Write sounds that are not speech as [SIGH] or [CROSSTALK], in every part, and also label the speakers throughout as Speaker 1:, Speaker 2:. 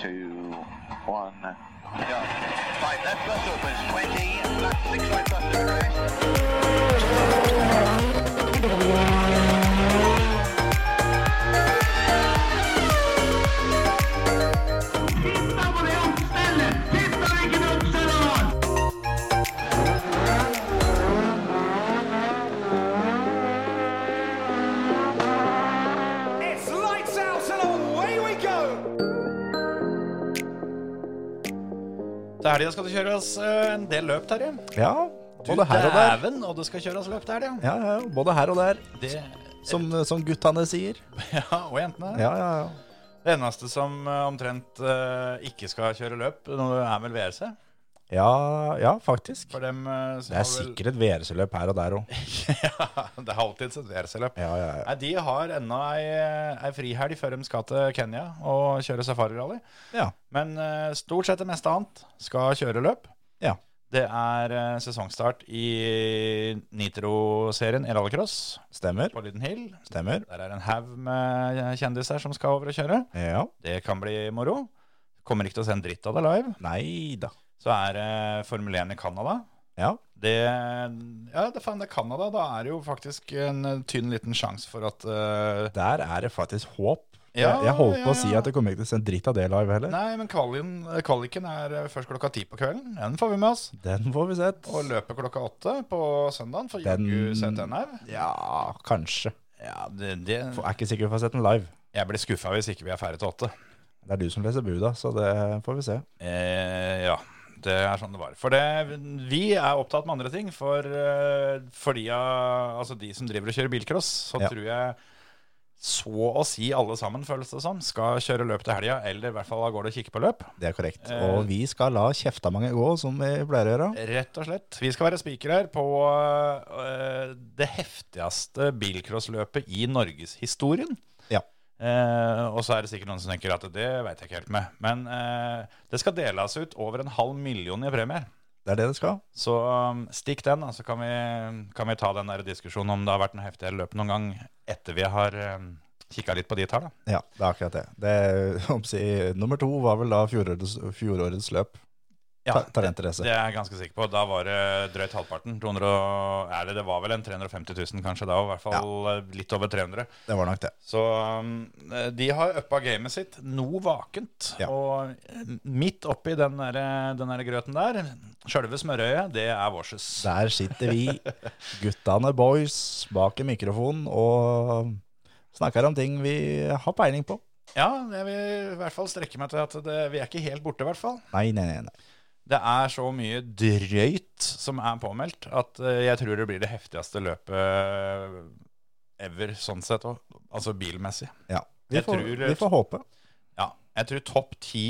Speaker 1: two, one.
Speaker 2: Yeah. Right, left bus opens 20, left six right bus to crest.
Speaker 3: It's lights out and away we go!
Speaker 4: Til helga skal det kjøres eh, en del løp, Terje.
Speaker 5: Ja,
Speaker 4: Du
Speaker 5: både her og der.
Speaker 4: dæven, og det skal kjøres løp til helga.
Speaker 5: Ja, ja, ja, både her og der,
Speaker 4: Det
Speaker 5: som,
Speaker 4: Eh.
Speaker 5: som guttene sier.
Speaker 4: [LAUGHS] Ja, og jentene.
Speaker 5: Ja, ja, ja.
Speaker 4: Det eneste som eh, omtrent eh, ikke skal kjøre løp, nå er vel VRC.
Speaker 5: Ja, ja faktisk.
Speaker 4: For dem eh,
Speaker 5: Det er
Speaker 4: har vel-
Speaker 5: sikkert et VRC-løp her og der òg.
Speaker 4: [LAUGHS] ja, det er alltid et VRC-løp.
Speaker 5: Ja, ja, ja.
Speaker 4: Nei, De har ennå ei, eh, ei frihelg før de skal til Kenya og kjøre safarirally.
Speaker 5: ja.
Speaker 4: Men eh, stort sett det meste annet skal kjøre løp.
Speaker 5: Ja.
Speaker 4: Det er eh, sesongstart i Nitro-serien i rallycross
Speaker 5: Stemmer.
Speaker 4: på Lyden Hill.
Speaker 5: Stemmer.
Speaker 4: Der er en haug med kjendiser som skal over og kjøre.
Speaker 5: Ja.
Speaker 4: Det kan bli moro. Kommer ikke til å se en dritt av det live.
Speaker 5: Nei da.
Speaker 4: Så er det Formel 1 i Canada.
Speaker 5: Ja.
Speaker 4: Det, ja, det, faen, det er Canada. Da er det jo faktisk en eh, tynn liten sjanse for at eh,
Speaker 5: Der er det faktisk håp.
Speaker 4: Ja,
Speaker 5: jeg, jeg holdt på
Speaker 4: ja,
Speaker 5: å si
Speaker 4: ja.
Speaker 5: at det kommer ikke til å se en dritt av det live heller.
Speaker 4: Nei, men kvalien, kvaliken er eh, først klokka ti på kvelden. Den får vi med oss.
Speaker 5: Den får vi sett.
Speaker 4: Og løpet klokka åtte på søndagen for
Speaker 5: Den-
Speaker 4: jaggu sett den her.
Speaker 5: Ja, kanskje.
Speaker 4: Ja, det, det,
Speaker 5: For jeg er ikke sikker på om vi får sett den live.
Speaker 4: jeg blir skuffa hvis ikke vi er ferdig til åtte.
Speaker 5: Det er du som leser buda, så det får vi se.
Speaker 4: Eh, ja, det er sånn det var. For det, vi er opptatt med andre ting. For, eh, for de, av- altså de som driver og kjører bilcross, så
Speaker 5: Ja.
Speaker 4: tror jeg så å si alle sammen, føles det som, skal kjøre løp til helga. Eller i hvert fall av gårde og kikke på løp.
Speaker 5: Det er korrekt.
Speaker 4: Eh.
Speaker 5: Og vi skal la kjeftamanget gå, som vi pleier å gjøre.
Speaker 4: Rett og slett. Vi skal være spikere her på eh, det heftigste bilcrossløpet i norgeshistorien.
Speaker 5: Ja.
Speaker 4: Eh, og så er det sikkert noen som tenker at det veit jeg ikke helt med. Men eh, det skal deles ut over en halv million i premier.
Speaker 5: Det er det det skal.
Speaker 4: Så um, stikk den, da, så kan vi, kan vi ta den der diskusjonen om det har vært en heftigere løp noen gang etter vi har um, kikka litt på de tallene.
Speaker 5: Ja, det er [LAUGHS] akkurat det. det om si, nummer to var vel da fjorårets, fjorårets løp. Ta- talentrace.
Speaker 4: Det, det er jeg ganske sikker på. Da var det drøyt halvparten. 200, og- er det, det var vel en 350 000 kanskje da, og i hvert fall eh, litt over 300.
Speaker 5: Det var nok det.
Speaker 4: Så um, de har uppa gamet sitt noe vakent.
Speaker 5: Ja.
Speaker 4: Og midt oppi den der, den der grøten der, sjølve smørøyet, det er vårses.
Speaker 5: Der sitter vi, guttene boys, bak en mikrofon og snakker om ting vi har peiling på.
Speaker 4: Ja, jeg vil i hvert fall strekke meg til at det, vi er ikke helt borte, i hvert fall.
Speaker 5: Nei, nei, nei. nei.
Speaker 4: Det er så mye drøyt som er påmeldt, at eh, jeg tror det blir det heftigste løpet ever, sånn sett òg. Altså bilmessig.
Speaker 5: Ja. Vi,
Speaker 4: Jeg
Speaker 5: får,
Speaker 4: tror-
Speaker 5: vi får håpe.
Speaker 4: Ja. Jeg tror topp ti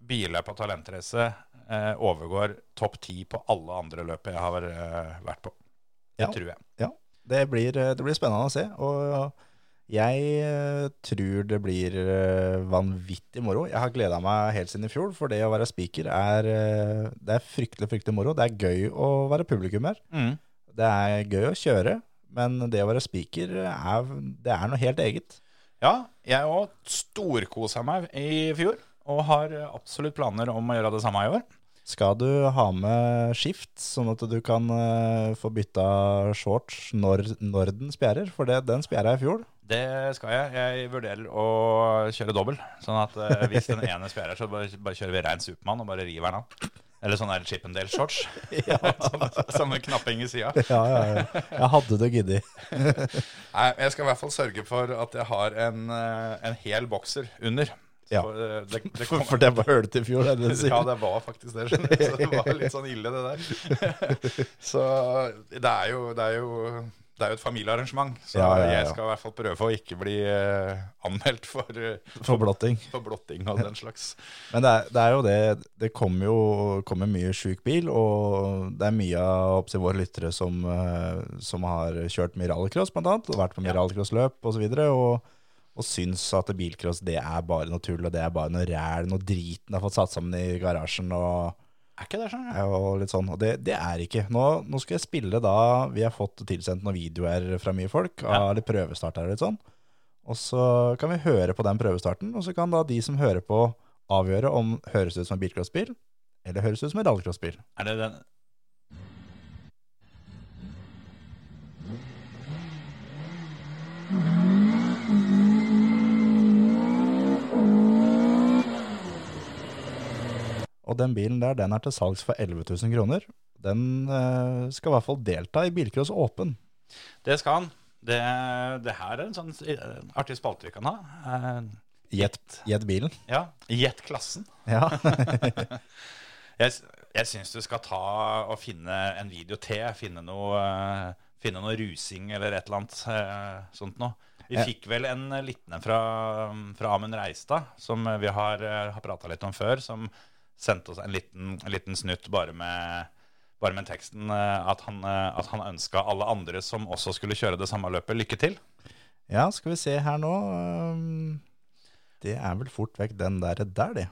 Speaker 4: biler på talentrace eh, overgår topp ti på alle andre løp jeg har eh, vært på. Det
Speaker 5: Ja.
Speaker 4: tror jeg.
Speaker 5: Ja, det blir, det blir spennende å se. Og jeg eh, tror det blir eh, vanvittig moro. Jeg har gleda meg helt siden i fjor, for det å være speaker er, eh, det er fryktelig fryktelig moro. Det er gøy å være publikummer.
Speaker 4: Mm.
Speaker 5: Det er gøy å kjøre, men det å være speaker er, det er noe helt eget.
Speaker 4: Ja, jeg òg storkosa meg i fjor, og har eh, absolutt planer om å gjøre det samme i år.
Speaker 5: Skal du ha med skift, sånn at du kan eh, få bytta shorts når, når den spjærer? For det, den spjæra i fjor. [LAUGHS]
Speaker 4: Det skal jeg. Jeg vurderer å kjøre dobbel. Sånn at eh, hvis den ene spjærer, så bare, bare kjører vi rein Supermann og bare river den av. Eller sånn der Chippendale-shorts. [LAUGHS] sånn, sånn med knapping i sida.
Speaker 5: [LAUGHS] Ja, ja, ja. Jeg hadde det giddet.
Speaker 4: Nei, Jeg skal i hvert fall sørge for at jeg har en, eh, en hel bokser under.
Speaker 5: Ja.
Speaker 4: For, eh, det, [LAUGHS] det
Speaker 5: For,
Speaker 4: kom-
Speaker 5: for det var hølet i fjor. Det er det du sier.
Speaker 4: ja, det var faktisk det. skjønner du. Så det var litt sånn ille, det der. [LAUGHS] Så det er jo, det er jo, det er jo et familiearrangement. Så
Speaker 5: Ja, ja, ja.
Speaker 4: jeg skal i hvert fall prøve å ikke bli eh, anmeldt for eh,
Speaker 5: for blotting.
Speaker 4: på blotting og den slags.
Speaker 5: Men det er, det er jo det, det kommer jo kommer mye sjuk bil, og det er mye av opptil våre lyttere som, eh, som har kjørt mye rallycross, blant annet, og vært på mye
Speaker 4: Ja.
Speaker 5: rallycrossløp osv., og, og syns at bilcross det er bare noe tull, og det er bare noe ræl, noe drit den har fått satt sammen i garasjen og,
Speaker 4: Er ikke det sånn? Ja.
Speaker 5: og litt sånn. Og det, det er ikke. Nå, nå skal jeg spille da Vi har fått tilsendt noen videoer fra mye folk,
Speaker 4: Ja.
Speaker 5: av litt prøvestarter og litt sånn. Og så kan vi høre på den prøvestarten, og så kan da de som hører på, avgjøre om høres ut som en bilcrossbil, eller høres ut som en rallycrossbil.
Speaker 4: Er det den
Speaker 5: Og den bilen der, den er til salgs for 11 000 kroner. Den eh, skal i hvert fall delta i Bilcross Åpen.
Speaker 4: Det skal han. Det, det her er en sånn eh, artig spalte vi kan ha. Eh,
Speaker 5: Gjett gjett bilen.
Speaker 4: Ja, Gjett klassen.
Speaker 5: Ja. [LAUGHS]
Speaker 4: Jeg, s- jeg syns du skal ta og finne en video til. Finne noe, eh, finne noe rusing eller et eller annet eh, sånt noe. Vi
Speaker 5: Ja.
Speaker 4: fikk vel en eh, liten en fra, fra Amund Reistad, som eh, vi har, eh, har prata litt om før, som sendte oss en liten, en liten snutt bare med, bare med teksten eh, at han, eh, at han ønska alle andre som også skulle kjøre det samme løpet, lykke til.
Speaker 5: ja, skal vi se her nå. ehm, Det er vel fort vekk den der, der det.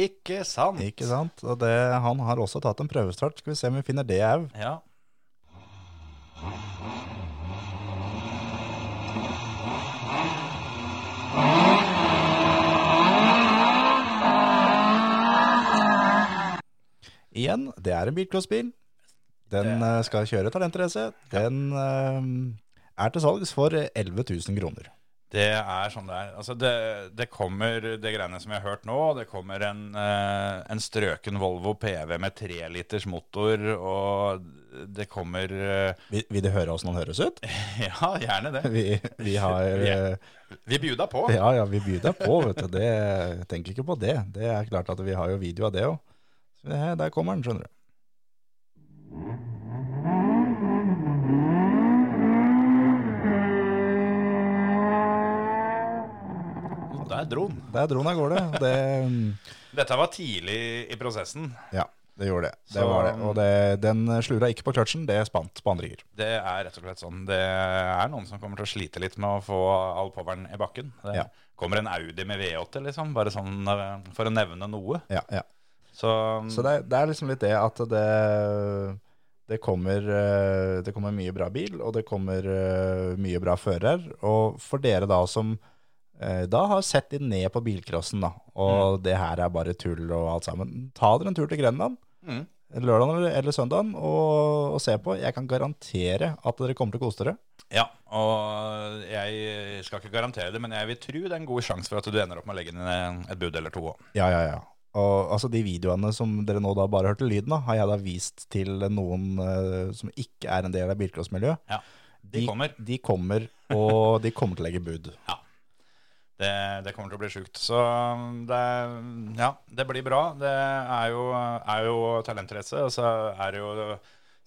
Speaker 4: Ikke sant?
Speaker 5: Ikke sant? Og det, han har også tatt en prøvestart. Skal vi se om vi finner det au.
Speaker 4: Ja.
Speaker 5: Igjen, det er en bilcrossbil. Den eh, skal kjøre talentrace. Den eh, er til salgs for 11 000 kroner.
Speaker 4: Det er sånn det er. Altså det, det kommer det greiene som vi har hørt nå. Det kommer en, eh, en strøken Volvo PV med treliters motor, og det kommer eh, [LAUGHS]
Speaker 5: Vil, vil du høre åssen han høres ut? [LAUGHS]
Speaker 4: Ja, gjerne det.
Speaker 5: Vi, vi har eh,
Speaker 4: Vi bjuda på.
Speaker 5: Ja, ja, vi byr deg på, vet du. Det, tenk ikke på det. Det er klart at vi har jo video av det òg. Der kommer den, skjønner du.
Speaker 4: Der dro den.
Speaker 5: Der dro den av gårde. Det,
Speaker 4: Dette var tidlig i prosessen.
Speaker 5: ja, det gjorde det. Det
Speaker 4: Så-
Speaker 5: var det. Og det, den slura ikke på kløtsjen, det spant spannerier.
Speaker 4: Det er rett og slett sånn. Det er noen som kommer til å slite litt med å få all poweren i bakken. Det
Speaker 5: Ja.
Speaker 4: kommer en Audi med V8, liksom. Bare sånn eh, for å nevne noe.
Speaker 5: Ja, ja.
Speaker 4: Så,
Speaker 5: Så det, det er liksom litt det at det det kommer, eh, det kommer mye bra bil, og det kommer eh, mye bra fører. Og for dere da som eh, da har sett litt ned på bilcrossen, da, og det her er bare tull og alt sammen, ta dere en tur til Grenland.
Speaker 4: Mm.
Speaker 5: lørdagen eller, eller søndagen og, og se på. Jeg kan garantere at dere kommer til å kose dere.
Speaker 4: Ja, og jeg skal ikke garantere det, men jeg vil tro det er en god sjanse for at du ender opp med å legge inn en- et bud eller to òg.
Speaker 5: Ja, ja, ja. Og altså, de videoene som dere nå da bare hørte lyden av, har jeg da vist til noen eh, som ikke er en del av bilcrossmiljøet.
Speaker 4: Ja, de kommer.
Speaker 5: De kommer, og de kommer til å legge bud.
Speaker 4: Det, det kommer til å bli sjukt. Så det, ja, det blir bra. Det er jo, er jo talentrace, og så er det jo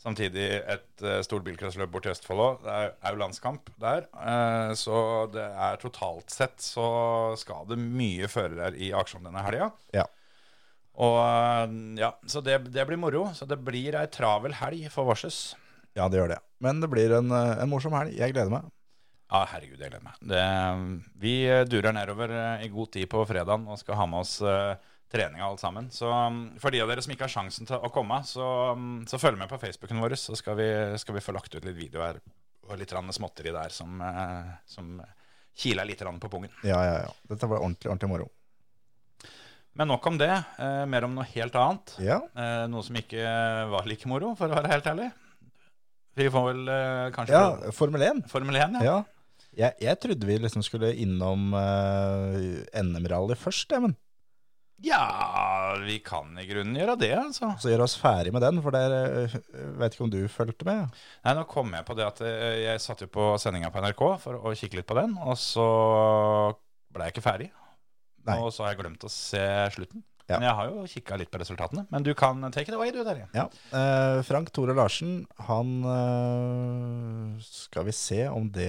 Speaker 4: samtidig et eh, stort bilcrossløp borti Østfold òg. Det er- er jo landskamp der. eh, Så det er totalt sett så skal det mye førere i aksjon denne helga.
Speaker 5: Ja.
Speaker 4: Og eh, ja, så det, det blir moro. Så det blir ei travel helg for Varses.
Speaker 5: ja, det gjør det. Men det blir en, eh, en morsom helg. Jeg gleder meg.
Speaker 4: Ja, Ah, herregud, jeg gleder meg. Det, vi eh, durer nedover eh, i god tid på fredagen og skal ha med oss eh, trening og alt sammen. Så um, for de av dere som ikke har sjansen til å komme, så, um, så følg med på Facebooken vår, så skal vi, skal vi få lagt ut litt videoer og litt grann småtteri der som, eh, som kiler litt grann på pungen.
Speaker 5: Ja, ja, ja. Dette var ordentlig, ordentlig moro.
Speaker 4: Men nok om det. eh, Mer om noe helt annet.
Speaker 5: Ja,
Speaker 4: Eh, Noe som ikke var like moro, for å være helt ærlig. Vi får vel eh, kanskje
Speaker 5: ja Formel 1.
Speaker 4: Formel 1, ja.
Speaker 5: Ja. Jeg, jeg trodde vi liksom skulle innom eh, NM-rally først, jeg, men
Speaker 4: Ja, vi kan i grunnen gjøre det, altså.
Speaker 5: Så gjør oss ferdig med den, for der eh, vet ikke om du fulgte med.
Speaker 4: Nei, nå kom jeg på det at eh, jeg satt jo på sendinga på NRK for å kikke litt på den, og så ble jeg ikke ferdig.
Speaker 5: Nei.
Speaker 4: Og så har jeg glemt å se slutten.
Speaker 5: Ja.
Speaker 4: Men jeg har jo kikka litt på resultatene. Men du kan take it away, du, Terje.
Speaker 5: Ja. eh, Frank Tore Larsen, han eh, Skal vi se om det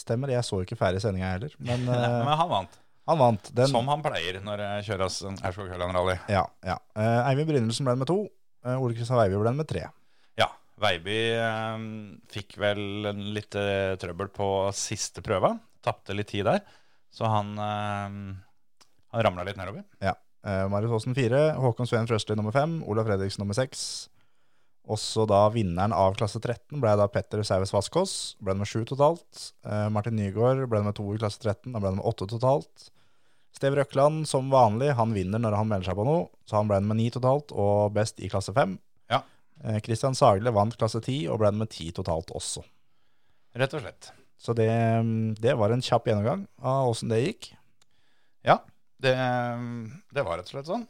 Speaker 5: stemmer. Jeg så ikke ferdig sendinga heller, men
Speaker 4: [LAUGHS]
Speaker 5: eh,
Speaker 4: Men han vant,
Speaker 5: han vant. Den,
Speaker 4: som han pleier når det kjøres en Aurskog Høland-rally.
Speaker 5: Ja, ja. Eh, Eivind Brynildsen ble med to. eh, Ole Kristian Weiby ble med tre.
Speaker 4: Ja, Veiby eh, fikk vel en litt eh, trøbbel på siste prøva. Tapte litt tid der, så han, eh, han ramla litt nedover.
Speaker 5: Ja. Eh, Marius Aasen fire. Håkon Sveen Frøsli nummer fem. Olav Fredriksen nummer seks. Også da vinneren av klasse 13 ble da Petter Saues Vaskås. Ble nummer 7 totalt. Eh, Martin Nygaard ble nummer 2 i klasse 13. Da ble nummer 8 totalt. Steve Røkland, som vanlig, han vinner når han melder seg på noe. Så han ble nummer 9 totalt, og best i klasse 5.
Speaker 4: Ja.
Speaker 5: Eh, Christian Sagle vant klasse 10, og ble nummer 10 totalt også.
Speaker 4: Rett og slett.
Speaker 5: Så det, mm, det var en kjapp gjennomgang av åssen det gikk.
Speaker 4: Ja, det, eh, det var rett og slett sånn.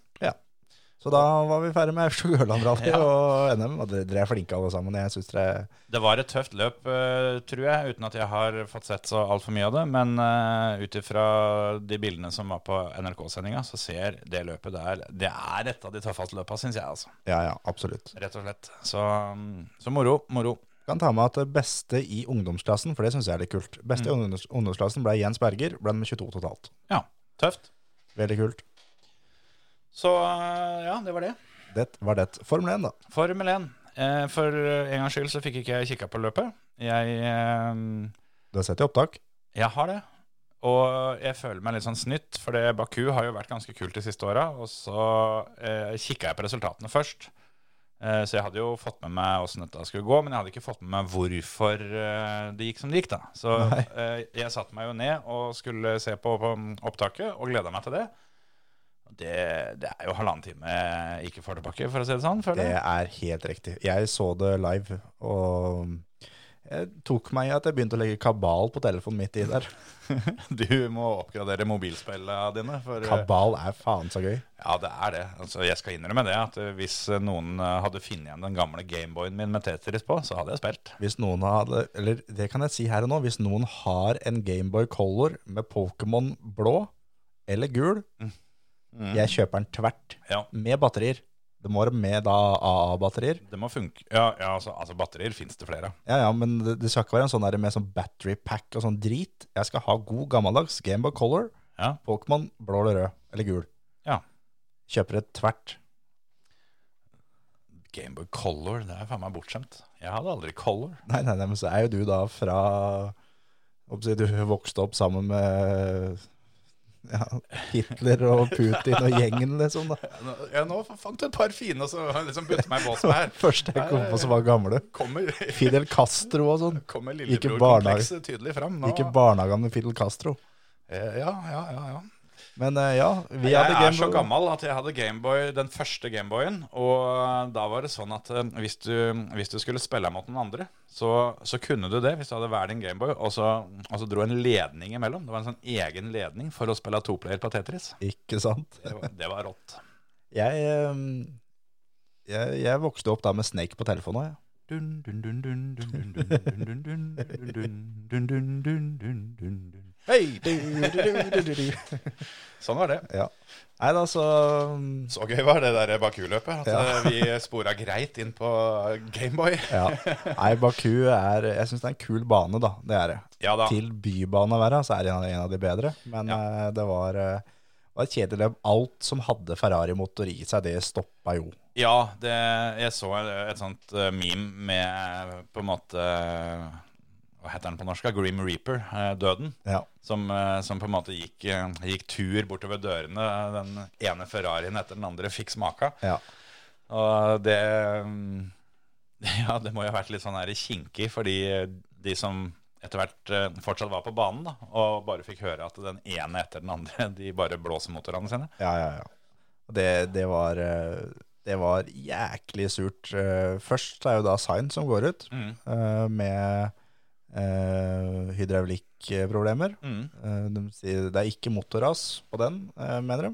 Speaker 5: Så da var vi ferdig med F7 Ørland-rally
Speaker 4: Ja.
Speaker 5: og NM. Og dere- dere er flinke alle sammen. Jeg synes dere
Speaker 4: Det var et tøft løp, eh, tror jeg, uten at jeg har fått sett så altfor mye av det. Men uh, ut ifra de bildene som var på NRK-sendinga, så ser det løpet der Det er et av de tøffeste løpa, syns jeg, altså.
Speaker 5: Ja, ja, absolutt.
Speaker 4: Rett og slett. Så, mm, så moro, moro.
Speaker 5: Kan ta med at det beste i ungdomsklassen, for det syns jeg er litt kult Beste i ungdoms- ungdomsklassen ble Jens Berger, ble nummer 22 totalt.
Speaker 4: Ja, tøft.
Speaker 5: Veldig kult.
Speaker 4: Så eh, ja, det var det.
Speaker 5: Det var det. Formel 1, da.
Speaker 4: Formel 1. Eh, for en gangs skyld så fikk ikke jeg kikka på løpet. Jeg eh,
Speaker 5: Du har sett i opptak?
Speaker 4: Jeg har det. Og jeg føler meg litt sånn snytt, for det Baku har jo vært ganske kult de siste åra. Og så eh, kikka jeg på resultatene først. Eh, så jeg hadde jo fått med meg åssen dette skulle gå, men jeg hadde ikke fått med meg hvorfor eh, det gikk som det gikk, da. Så
Speaker 5: Nei.
Speaker 4: eh, jeg satte meg jo ned og skulle se på, på opptaket, og gleda meg til det. det. Det er jo halvannen time jeg ikke får tilbake, for å si det sånn.
Speaker 5: Det
Speaker 4: Føler jeg.
Speaker 5: er helt riktig. Jeg så det live, og jeg tok meg i at jeg begynte å legge kabal på telefonen midt i der.
Speaker 4: [LAUGHS] Du må oppgradere mobilspillene dine. For, eh,
Speaker 5: Kabal er faen så gøy.
Speaker 4: Ja, det er det. Altså, jeg skal innrømme det. At eh, hvis eh, noen eh, hadde funnet igjen den gamle Gameboyen min med Tetris på, så hadde jeg spilt.
Speaker 5: Hvis noen hadde, eller det kan jeg si her og nå, hvis noen har en Gameboy Color med Pokémon blå eller gul, jeg kjøper den tvert.
Speaker 4: Mm. Ja,
Speaker 5: Med batterier. Det må være med da AA-batterier.
Speaker 4: det må funke. Ja, ja altså, altså batterier fins det flere av.
Speaker 5: Ja, ja, men det, det skal ikke være en sånn der med sånn battery pack og sånn drit. Jeg skal ha god gammeldags Gameboy Color,
Speaker 4: Ja.
Speaker 5: Pokémon blå eller rød, eller gul.
Speaker 4: Ja.
Speaker 5: Kjøper et tvert.
Speaker 4: Gameboy Color, det er faen meg bortskjemt. Jeg hadde aldri Color.
Speaker 5: Nei, nei, nei, men så er jo du da fra om si, Du vokste opp sammen med ja, Hitler og Putin og gjengen, liksom. da
Speaker 4: Ja, nå, ja, nå fant du et par fine, og så [LAUGHS] liksom bytte meg i bås med her.
Speaker 5: Første jeg kom på som var gamle.
Speaker 4: Kommer, [LAUGHS]
Speaker 5: Fidel Castro og sånn.
Speaker 4: kommer
Speaker 5: Ikke
Speaker 4: lillebror-komplekset tydelig fram nå.
Speaker 5: Gikk i barnehagen med Fidel Castro.
Speaker 4: Eh, Ja, ja, ja, ja.
Speaker 5: Men eh, ja, vi
Speaker 4: jeg
Speaker 5: hadde
Speaker 4: er så
Speaker 5: Gameboy.
Speaker 4: gammel at jeg hadde Gameboy, den første Gameboyen. Og da var det sånn at eh, hvis du, hvis du skulle spille mot noen andre, så, så kunne du det hvis du hadde hver din Gameboy, og, så- og så dro en ledning imellom. Det var en sånn egen ledning for å spille toplayer på Tetris.
Speaker 5: Ikke sant?
Speaker 4: Det var, det var rått.
Speaker 5: Jeg, eh, jeg, jeg vokste opp da med Snake på telefonen òg, jeg.
Speaker 4: Dun, dun, dun, dun, dun, dun, dun, dun, dun, dun, dun, dun, dun, dun, dun, dun, dun, dun.
Speaker 5: Hei! du-du-du-du-du-du.
Speaker 4: Sånn var det.
Speaker 5: Ja. Nei da, så mm,
Speaker 4: Så gøy var det der Baku-løpet. At
Speaker 5: Ja.
Speaker 4: eh, vi spora greit inn på Gameboy.
Speaker 5: ja. Nei, Baku er Jeg syns det er en kul bane, da. Det er det.
Speaker 4: [LAUGHS] Ja da.
Speaker 5: Til bybane å være, så er det en av- en av de bedre. Men eh, det var, eh, var et kjedelig løp. Alt som hadde Ferrari-motor i seg, det stoppa jo.
Speaker 4: Ja, det, jeg så et, et sånt eh, meme med eh, på en måte eh, Hva heter den på norsk? da? Grim Reaper, eh, døden.
Speaker 5: Ja.
Speaker 4: Som, eh, som på en måte gikk, eh, gikk tur bortover dørene. eh, Den ene Ferrarien etter den andre fikk smaka.
Speaker 5: ja.
Speaker 4: Og det mm, [LAUGHS] Ja, det må jo ha vært litt sånn her kinkig for de, de som etter hvert eh, fortsatt var på banen, da, og bare fikk høre at den ene etter den andre, [LAUGHS] de bare blåser motorene sine.
Speaker 5: Ja, ja, ja. Og Det, det, var, eh, det var jæklig surt. Eh, Først er jo da Sign som går ut
Speaker 4: Mm.
Speaker 5: eh, med eh, hydraulikkproblemer.
Speaker 4: Mm.
Speaker 5: Eh, De sier det er ikke motorras på den, eh, mener de.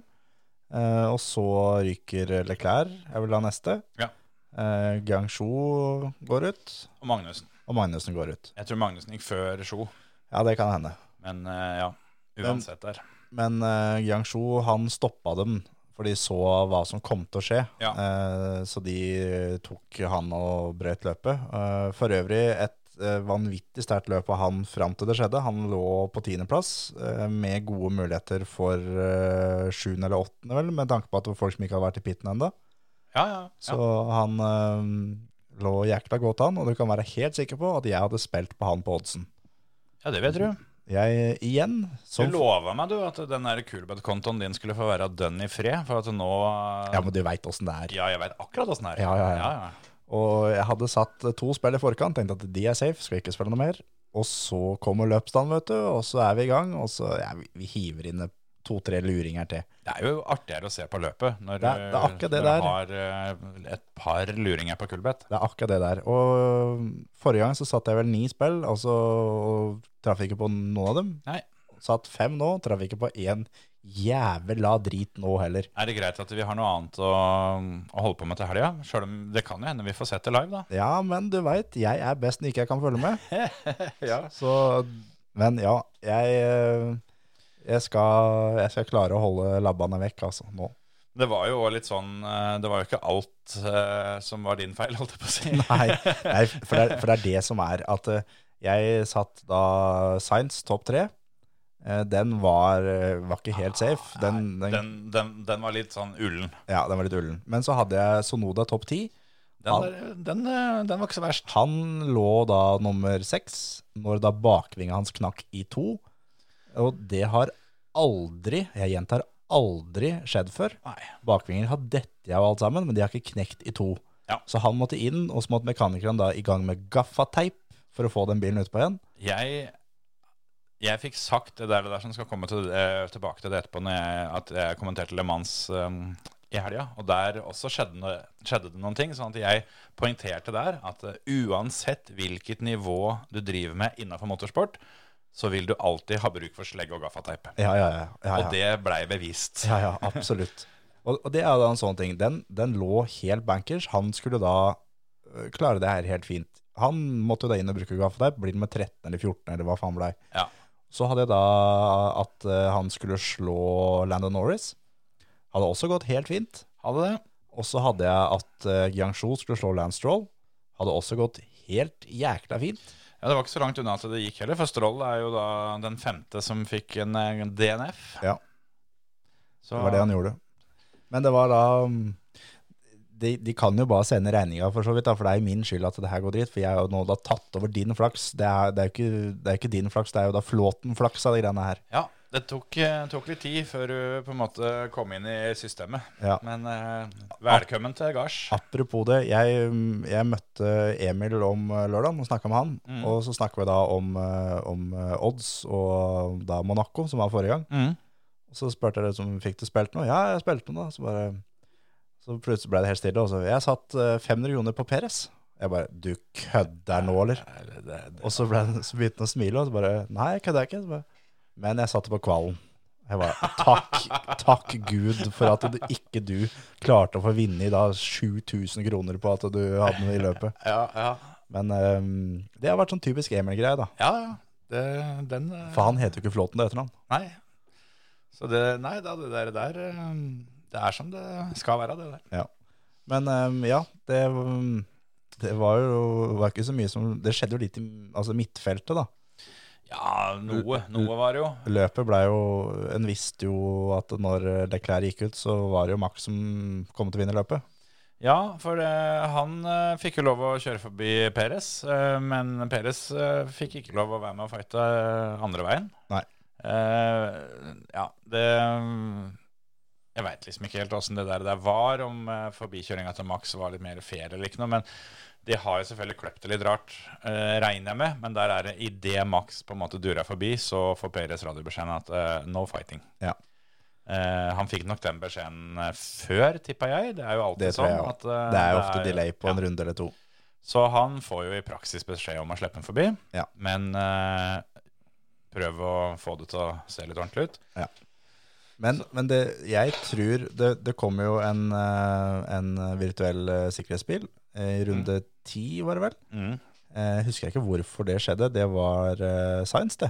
Speaker 5: Eh, Og så ryker Leclerc, er vel da neste.
Speaker 4: Ja.
Speaker 5: Eh, Gangsjo går ut,
Speaker 4: Og Magnussen.
Speaker 5: og Magnussen går ut.
Speaker 4: Jeg tror Magnussen gikk før Sjo.
Speaker 5: Ja, det kan hende.
Speaker 4: Men eh, ja, uansett der.
Speaker 5: Men uh, Yangshu, han stoppa dem, for de så hva som kom til å skje.
Speaker 4: Ja.
Speaker 5: Eh, så de tok han og brøt løpet. Eh, for øvrig et eh, vanvittig sterkt løp av han fram til det skjedde. Han lå på tiendeplass eh, med gode muligheter for eh, sjuende eller åttende, vel, med tanke på at det var folk som ikke hadde vært i pitten ennå.
Speaker 4: Ja, ja.
Speaker 5: Så han eh, lå jækla godt an, og du kan være helt sikker på at jeg hadde spilt på han på oddsen.
Speaker 4: ja det vet du.
Speaker 5: Jeg igjen
Speaker 4: Du
Speaker 5: som
Speaker 4: lova meg du at den der Kulbeth-kontoen din skulle få være dønn i fred. For at nå
Speaker 5: Ja, men du veit åssen det er.
Speaker 4: Ja, jeg veit akkurat åssen det er.
Speaker 5: Ja, ja, ja.
Speaker 4: ja, ja.
Speaker 5: Og jeg hadde satt to spill i forkant, tenkte at de er safe, skal ikke spille noe mer. Og så kommer løpsdagen, vet du, og så er vi i gang. Og så ja, vi, vi hiver inn to-tre luringer til.
Speaker 4: Det er jo artigere å se på løpet når,
Speaker 5: Det er- det er akkurat det
Speaker 4: når du har eh, et par luringer på kullbett.
Speaker 5: Det er akkurat det der. Og forrige gang så satt jeg vel ni spill, og så traff jeg ikke på noen av dem.
Speaker 4: Nei.
Speaker 5: Satt fem nå, traff ikke på én jævla drit nå heller.
Speaker 4: Er det greit at vi har noe annet å, å holde på med til helga? Selv om det kan jo hende vi får sett det live,
Speaker 5: [LAUGHS]
Speaker 4: da.
Speaker 5: Ja, men du veit, jeg er best når ikke jeg kan følge med.
Speaker 4: [LAUGHS] Ja.
Speaker 5: Så Men ja, jeg eh, jeg skal, jeg skal klare å holde labbene vekk, altså, nå.
Speaker 4: Det var jo også litt sånn eh, Det var jo ikke alt eh, som var din feil, [LAUGHS] holdt jeg på å si.
Speaker 5: Nei, nei for, det er, for det er det som er at eh, jeg satt da Science topp tre. Eh, Den var, eh, var ikke helt safe. Den, den,
Speaker 4: Den, den, den var litt sånn ullen.
Speaker 5: Ja, den var litt ullen. Men så hadde jeg Sonoda topp ti.
Speaker 4: Den, var, den, eh, den var ikke så verst.
Speaker 5: Han lå da nummer seks, når da bakvinga hans knakk i to. Og det har aldri, jeg gjentar aldri, skjedd før.
Speaker 4: Nei.
Speaker 5: Bakvinger har dette av alt sammen, men de har ikke knekt i to.
Speaker 4: Ja.
Speaker 5: Så han måtte inn, og så måtte mekanikeren da i gang med gaffateip for å få den bilen utpå igjen.
Speaker 4: Jeg, jeg fikk sagt det der, det der som skal komme til, eh, tilbake til det etterpå, når jeg, at jeg kommenterte Le Mans eh, i helga. Og der også skjedde, noe- skjedde det noen ting. Sånn at jeg poengterte der at eh, uansett hvilket nivå du driver med innafor motorsport, så vil du alltid ha bruk for slegge og gaffateip.
Speaker 5: Ja, ja, ja. ja, ja.
Speaker 4: Og det blei bevist.
Speaker 5: [LAUGHS] Ja, ja, absolutt. Og, og det er da en sånn ting. Den, den lå helt bankers. Han skulle da øh, klare det her helt fint. Han måtte jo da inn og bruke gaffateip. Blir det med 13 eller 14 eller hva faen blei.
Speaker 4: Ja.
Speaker 5: Så hadde jeg da at øh, han skulle slå Landon Norris. Hadde også gått helt fint.
Speaker 4: Hadde det.
Speaker 5: Og så hadde jeg at uh, Guangzhou skulle slå Lance Stroll. Hadde også gått helt jækla fint.
Speaker 4: Ja, Det var ikke så langt unna at det gikk heller, for Stroll er jo da den femte som fikk en eh, DNF.
Speaker 5: Ja.
Speaker 4: Så,
Speaker 5: Det var det han gjorde. Men det var da mm, De, de kan jo bare sende regninga, for så vidt, da, for det er jo min skyld at det her går dritt. For jeg har jo nå da tatt over din flaks. Det er, det er, jo, ikke, det er jo ikke din flaks, det er jo da Flåten-flaks av de greiene her.
Speaker 4: Ja, det tok, eh, tok litt tid før du på en måte kom inn i systemet.
Speaker 5: Ja.
Speaker 4: Men eh, velkommen til gards.
Speaker 5: Apropos det, jeg, mm, jeg møtte Emil om eh, lørdagen og snakka med han. Og så snakka vi da om, eh, om eh, odds og da Monaco, som var forrige gang.
Speaker 4: Mm.
Speaker 5: Og så spurte jeg liksom, fikk du spilt noe? Ja, jeg spilte noe da. Så, bare, så plutselig ble det helt stille. Og så jeg satt eh, 500 kroner på Peres. Jeg bare, du kødder nå, eller? Og så, ble, han- så begynte han å smile, og så bare, nei, jeg kødder ikke. Så bare, Men jeg satte på kvalen. Jeg bare, takk, takk Gud for at du, ikke du klarte å få vinne i da 7000 kroner på at du hadde noe i løpet.
Speaker 4: Ja, ja.
Speaker 5: Men eh, det har vært sånn typisk Emil-greie da.
Speaker 4: ja, ja. Det, den eh,
Speaker 5: For han heter jo ikke Flåten, det heter han.
Speaker 4: Nei. Så det, nei da, det der, der eh, Det er som det skal være, det der.
Speaker 5: Ja. Men ehm, ja, det, mm, det var jo var ikke så mye som Det skjedde jo litt i altså midtfeltet, da.
Speaker 4: Ja, noe. Noe var det jo.
Speaker 5: Løpet ble jo En visste jo at når Leclerc gikk ut, så var det jo Max som kom til å vinne løpet.
Speaker 4: Ja, for eh, han eh, fikk jo lov å kjøre forbi Peres, eh, men Peres eh, fikk ikke lov å være med og fighte eh, andre veien.
Speaker 5: Nei.
Speaker 4: Eh, ja, det Jeg veit liksom ikke helt åssen det der, der var, om uh, forbikjøringa til Max var litt mer fair eller ikke noe, men de har jo selvfølgelig kløpt det litt rart, eh, regner jeg med, men der er det idet Max på en måte durer forbi, så får Peres radiobeskjeden at eh, no fighting.
Speaker 5: Ja.
Speaker 4: Eh, han fikk nok den beskjeden eh, før, tippa jeg. Det er jo alltid
Speaker 5: Det tror
Speaker 4: sånn.
Speaker 5: jeg også.
Speaker 4: At, eh,
Speaker 5: Det er jo ofte delay på
Speaker 4: ja.
Speaker 5: en runde eller to.
Speaker 4: Så han får jo i praksis beskjed om å slippe den forbi,
Speaker 5: Ja.
Speaker 4: men eh, prøv å få det til å se litt ordentlig ut.
Speaker 5: Men, men det, jeg tror det, det kommer jo en, eh, en virtuell eh, sikkerhetsbil eh, i runde ti, var det vel?
Speaker 4: Mm.
Speaker 5: Eh, husker jeg ikke hvorfor det skjedde. Det var eh, Science, det.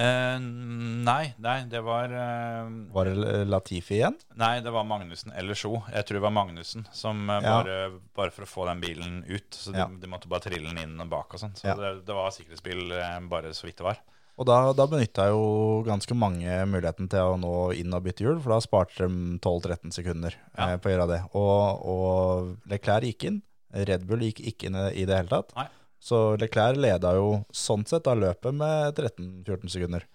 Speaker 4: Eh, nei, nei, det var eh,
Speaker 5: Var det Latifi igjen?
Speaker 4: Nei, det var Magnussen eller Sjo. Jeg tror det var Magnussen som eh,
Speaker 5: Ja.
Speaker 4: bare, bare for å få den bilen ut. Så de,
Speaker 5: Ja.
Speaker 4: de måtte bare trille den inn og bak og sånn. Så
Speaker 5: Ja.
Speaker 4: det, det var sikkerhetsbil eh, bare så vidt det var.
Speaker 5: Og da, da benytta jo ganske mange muligheten til å nå inn og bytte hjul, for da sparte de 12-13 sekunder
Speaker 4: Ja.
Speaker 5: eh, på å gjøre det. Og, og Leclerc gikk inn. Red Bull gikk ikke inn i det hele tatt.
Speaker 4: Nei.
Speaker 5: Så Leclerc leda jo sånn sett av løpet med 13-14 sekunder.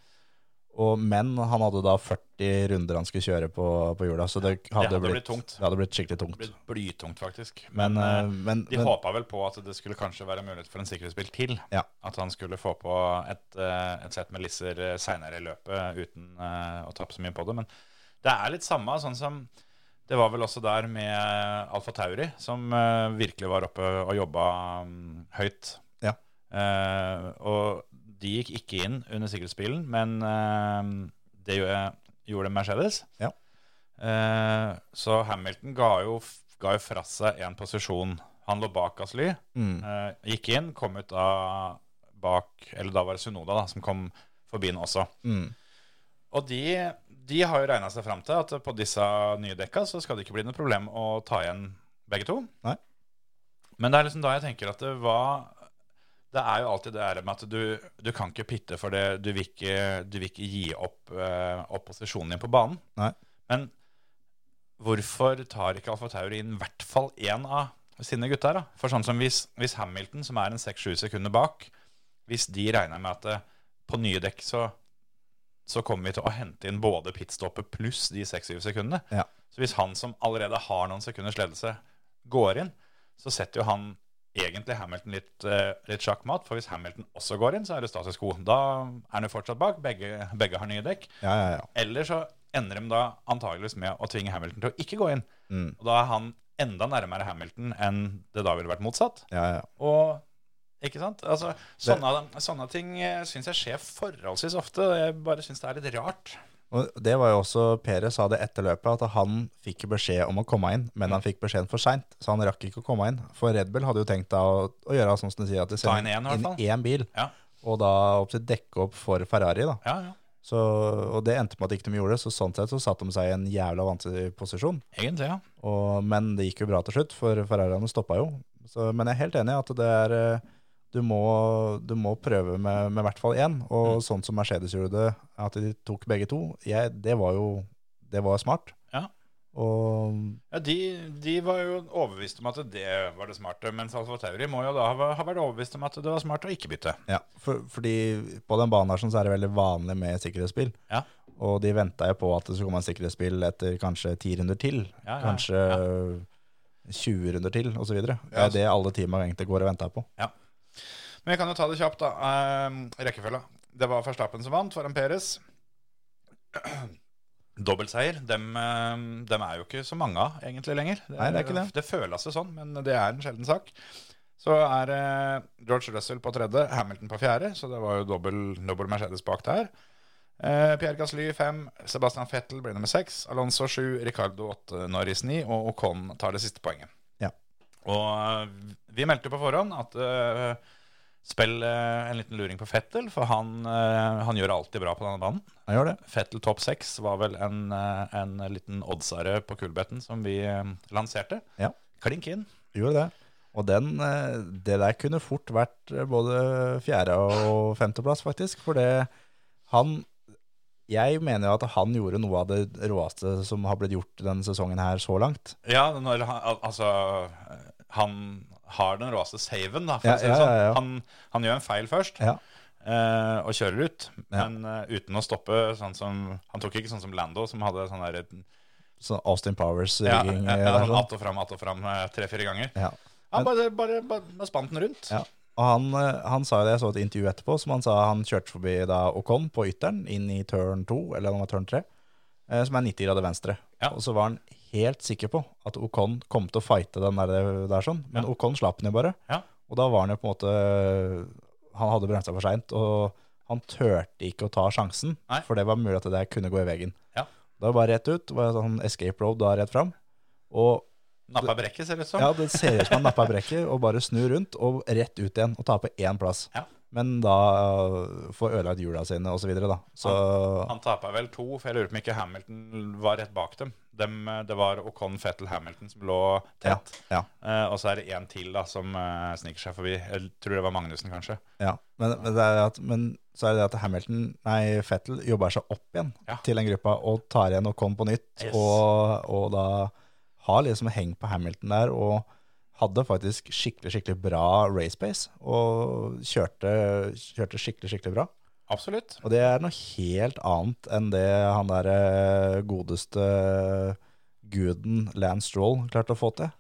Speaker 5: Og, men han hadde da 40 runder han skulle kjøre på, på hjula, så det hadde,
Speaker 4: hadde blitt
Speaker 5: blitt,
Speaker 4: tungt.
Speaker 5: Det hadde blitt skikkelig tungt.
Speaker 4: Det ble blytungt, faktisk.
Speaker 5: Men,
Speaker 4: Men,
Speaker 5: eh,
Speaker 4: eh,
Speaker 5: men-
Speaker 4: de
Speaker 5: men-
Speaker 4: håpa vel på at det skulle kanskje være mulighet for en sikkerhetsbil til.
Speaker 5: Ja.
Speaker 4: At han skulle få på et, eh, et sett med lisser eh, seinere i løpet uten eh, å tape så mye på det. Men det er litt samme, sånn som det var vel også der med Alfa Tauri, som eh, virkelig var oppe og jobba mm, høyt.
Speaker 5: Ja.
Speaker 4: Eh, og de gikk ikke inn under sikkerhetsbilen, men eh, det gjorde, gjorde Mercedes.
Speaker 5: Ja.
Speaker 4: Eh, så Hamilton ga jo, ga jo fra seg en posisjon. Han lå bak Gasly,
Speaker 5: mm,
Speaker 4: eh, gikk inn, kom ut av bak Eller da var det Sunoda da, som kom forbi den også.
Speaker 5: mm.
Speaker 4: Og de, de har jo regna seg fram til at på disse nye dekka så skal det ikke bli noe problem å ta igjen begge to.
Speaker 5: Nei.
Speaker 4: Men det er liksom da jeg tenker at det var Det er jo alltid det der med at du, du kan ikke pitte for det. Du vil ikke, du vil ikke gi opp eh, opposisjonen din på banen.
Speaker 5: Nei.
Speaker 4: Men hvorfor tar ikke Alfa Tauri inn i hvert fall én av sine gutter? da? For sånn som hvis, hvis Hamilton, som er en 6-7 sekunder bak, hvis de regner med at eh, på nye dekk så, så kommer vi til å hente inn både pitstoppet pluss de 6-7 sekundene.
Speaker 5: Ja.
Speaker 4: Så hvis han som allerede har noen sekunders ledelse, går inn, så setter jo han egentlig Hamilton litt, eh, litt sjakkmatt. For hvis Hamilton også går inn, så er det status quo. Da er han jo fortsatt bak. Begge, begge har nye dekk.
Speaker 5: Ja, ja, ja.
Speaker 4: Eller så ender de da antageligvis med å tvinge Hamilton til å ikke gå inn.
Speaker 5: Mm.
Speaker 4: Og da er han enda nærmere Hamilton enn det da ville vært motsatt.
Speaker 5: ja, ja.
Speaker 4: Og ikke sant? Altså, sånne, sånne ting eh, syns jeg skjer forholdsvis ofte. og Jeg bare syns det er litt rart.
Speaker 5: Og det var jo også Perez sa det etter løpet, at han fikk beskjed om å komme inn, men
Speaker 4: Mm.
Speaker 5: han fikk beskjeden for seint, så han rakk ikke å komme inn. For Red Bull hadde jo tenkt da å, å gjøre sånn som de sier, at de
Speaker 4: Ta inn
Speaker 5: sender
Speaker 4: en, i hvert fall.
Speaker 5: inn én bil,
Speaker 4: Ja,
Speaker 5: og da opp til dekke opp for Ferrari, da.
Speaker 4: ja, ja.
Speaker 5: Så, og det endte med at ikke de gjorde det, så sånn sett så satte de seg i en jævla vanskelig posisjon.
Speaker 4: Egentlig, ja.
Speaker 5: Og, men det gikk jo bra til slutt, for Ferrariene stoppa jo. Så, men jeg er helt enig i at det er eh, Du må, du må prøve med, med hvert fall én. Og
Speaker 4: Mm.
Speaker 5: sånn som Mercedes gjorde det, at de tok begge to, jeg, det var jo det var smart.
Speaker 4: Ja.
Speaker 5: Og
Speaker 4: Ja, de, de var jo overbevist om at det var det smarte, mens Alfa Tauri må jo da ha, ha vært overbevist om at det var smart å ikke bytte.
Speaker 5: ja, for, fordi på den banen her sånn, så er det veldig vanlig med sikkerhetsbil.
Speaker 4: Ja.
Speaker 5: Og de venta jo på at det skulle komme en sikkerhetsbil etter kanskje ti runder til.
Speaker 4: Ja, ja,
Speaker 5: kanskje 20 runder til, osv. videre Det
Speaker 4: Ja,
Speaker 5: er det alle teama egentlig går og venter på.
Speaker 4: Men vi kan jo ta det kjapt, da. Ehm, rekkefølga. Det var Verstappen som vant foran Peres. [CLEARS THROAT] Dobbeltseier. Dem, ehm, dem er jo ikke så mange av egentlig lenger.
Speaker 5: Nei, det er ikke det.
Speaker 4: Det føles jo sånn, men det er en sjelden sak. Så er eh, George Russell på tredje, Hamilton på fjerde, så det var jo dobbel, dobbel Mercedes bak der. Eh, Pierre Gasly fem, Sebastian Fettel blir nummer seks, Alonso sju, Ricardo åtte, Norris ni, og Ocon tar det siste poenget.
Speaker 5: Ja.
Speaker 4: Og eh, vi meldte på forhånd at eh, Spill eh, en liten luring på Fettel, for han, eh, han gjør alltid bra på denne banen.
Speaker 5: Han gjør det.
Speaker 4: Fettel topp seks var vel en, eh, en liten oddsere på Kulbetten som vi eh, lanserte.
Speaker 5: Ja.
Speaker 4: Klink inn.
Speaker 5: Gjorde det. Og den, eh, det der kunne fort vært eh, både fjerde- og femteplass, faktisk. For det han Jeg mener jo at han gjorde noe av det råeste som har blitt gjort denne sesongen her så langt.
Speaker 4: Ja, når han, al- altså eh, Han har den råeste saven, da, for
Speaker 5: Ja,
Speaker 4: å si det
Speaker 5: ja,
Speaker 4: sånn.
Speaker 5: ja, ja.
Speaker 4: Han, han gjør en feil først.
Speaker 5: Ja.
Speaker 4: eh, og kjører ut,
Speaker 5: Ja.
Speaker 4: men eh, uten å stoppe sånn som Han tok ikke sånn som Lando, som hadde sånn der
Speaker 5: Så Austin
Speaker 4: ja,
Speaker 5: Powers-rigging.
Speaker 4: ja,
Speaker 5: eh,
Speaker 4: ja,
Speaker 5: der,
Speaker 4: sånn
Speaker 5: sånn.
Speaker 4: Att og fram, att og fram eh, tre-fire ganger.
Speaker 5: ja.
Speaker 4: Han bare, bare, bare, bare spant den rundt.
Speaker 5: Ja. Og han, eh, han sa jo det, jeg så et intervju etterpå, som han sa han kjørte forbi da Ocon på ytteren, inn i turn 2, eller om det var turn 3, eh, som er 90 grader venstre.
Speaker 4: Ja.
Speaker 5: Og så var han helt sikker på at Ocon kom til å fighte den der, der sånn, men
Speaker 4: Ja.
Speaker 5: Ocon slapp den jo bare.
Speaker 4: Ja.
Speaker 5: Og da var han jo på en måte Han hadde bremsa for seint, og han turte ikke å ta sjansen,
Speaker 4: Nei.
Speaker 5: for det var mulig at det der kunne gå i veggen.
Speaker 4: Ja.
Speaker 5: Da var det bare rett ut, var det sånn escape road da rett fram. Og
Speaker 4: Nappa brekket, ser det ut som.
Speaker 5: ja, det ser ut som han nappa brekket og bare snur rundt og rett ut igjen og taper én plass.
Speaker 4: Ja.
Speaker 5: Men da øh, får ødelagt hjula sine og så videre, da. Så
Speaker 4: Han tapet vel to, for jeg lurer på om ikke Hamilton var rett bak dem. dem eh, det var Ocon, Fettel, Hamilton som lå
Speaker 5: ja,
Speaker 4: tett.
Speaker 5: ja,
Speaker 4: Eh, og så er det én til da, som eh, sniker seg forbi. Jeg tror det var Magnussen, kanskje.
Speaker 5: ja. Men, men, det er at, men så er det det at Hamilton, nei, Fettel jobber seg opp igjen
Speaker 4: Ja.
Speaker 5: til den gruppa og tar igjen og kom på nytt.
Speaker 4: Yes.
Speaker 5: Og, og da har liksom heng på Hamilton der og hadde faktisk skikkelig, skikkelig bra race pace og kjørte, kjørte skikkelig, skikkelig bra.
Speaker 4: Absolutt.
Speaker 5: Og det er noe helt annet enn det han der eh, godeste guden Lance Stroll klarte å få til.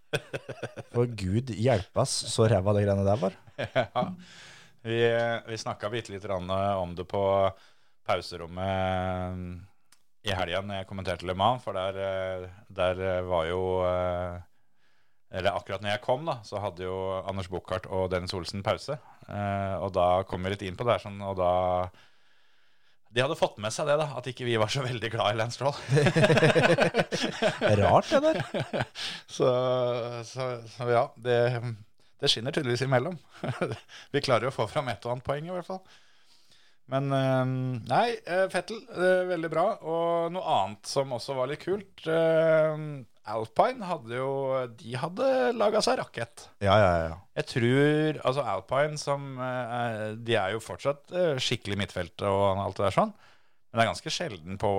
Speaker 5: For gud hjelpe oss, så ræva det greiene der var.
Speaker 4: [LAUGHS] Ja. Vi, vi snakka bitte litt grann eh, om det på pauserommet i helga når jeg kommenterte Le Mans, for der, eh, der var jo eh, Eller akkurat når jeg kom, da, så hadde jo Anders Buchardt og Dennis Olsen pause. Eh, Og da kom vi litt inn på det her, sånn, og da De hadde fått med seg det, da, at ikke vi var så veldig glad i Lance Stroll.
Speaker 5: Rart, det der.
Speaker 4: Så, så, så ja, det, det skinner tydeligvis imellom. [LAUGHS] Vi klarer jo å få fram et og annet poeng, i hvert fall. Men eh, nei, eh, Fettel, eh, veldig bra. Og noe annet som også var litt kult. eh, Alpine hadde jo De hadde laga seg rakett.
Speaker 5: Ja, ja, ja.
Speaker 4: Jeg tror Altså, Alpine som eh, er- De er jo fortsatt eh, skikkelig midtfelt og alt det der sånn. Men det er ganske sjelden på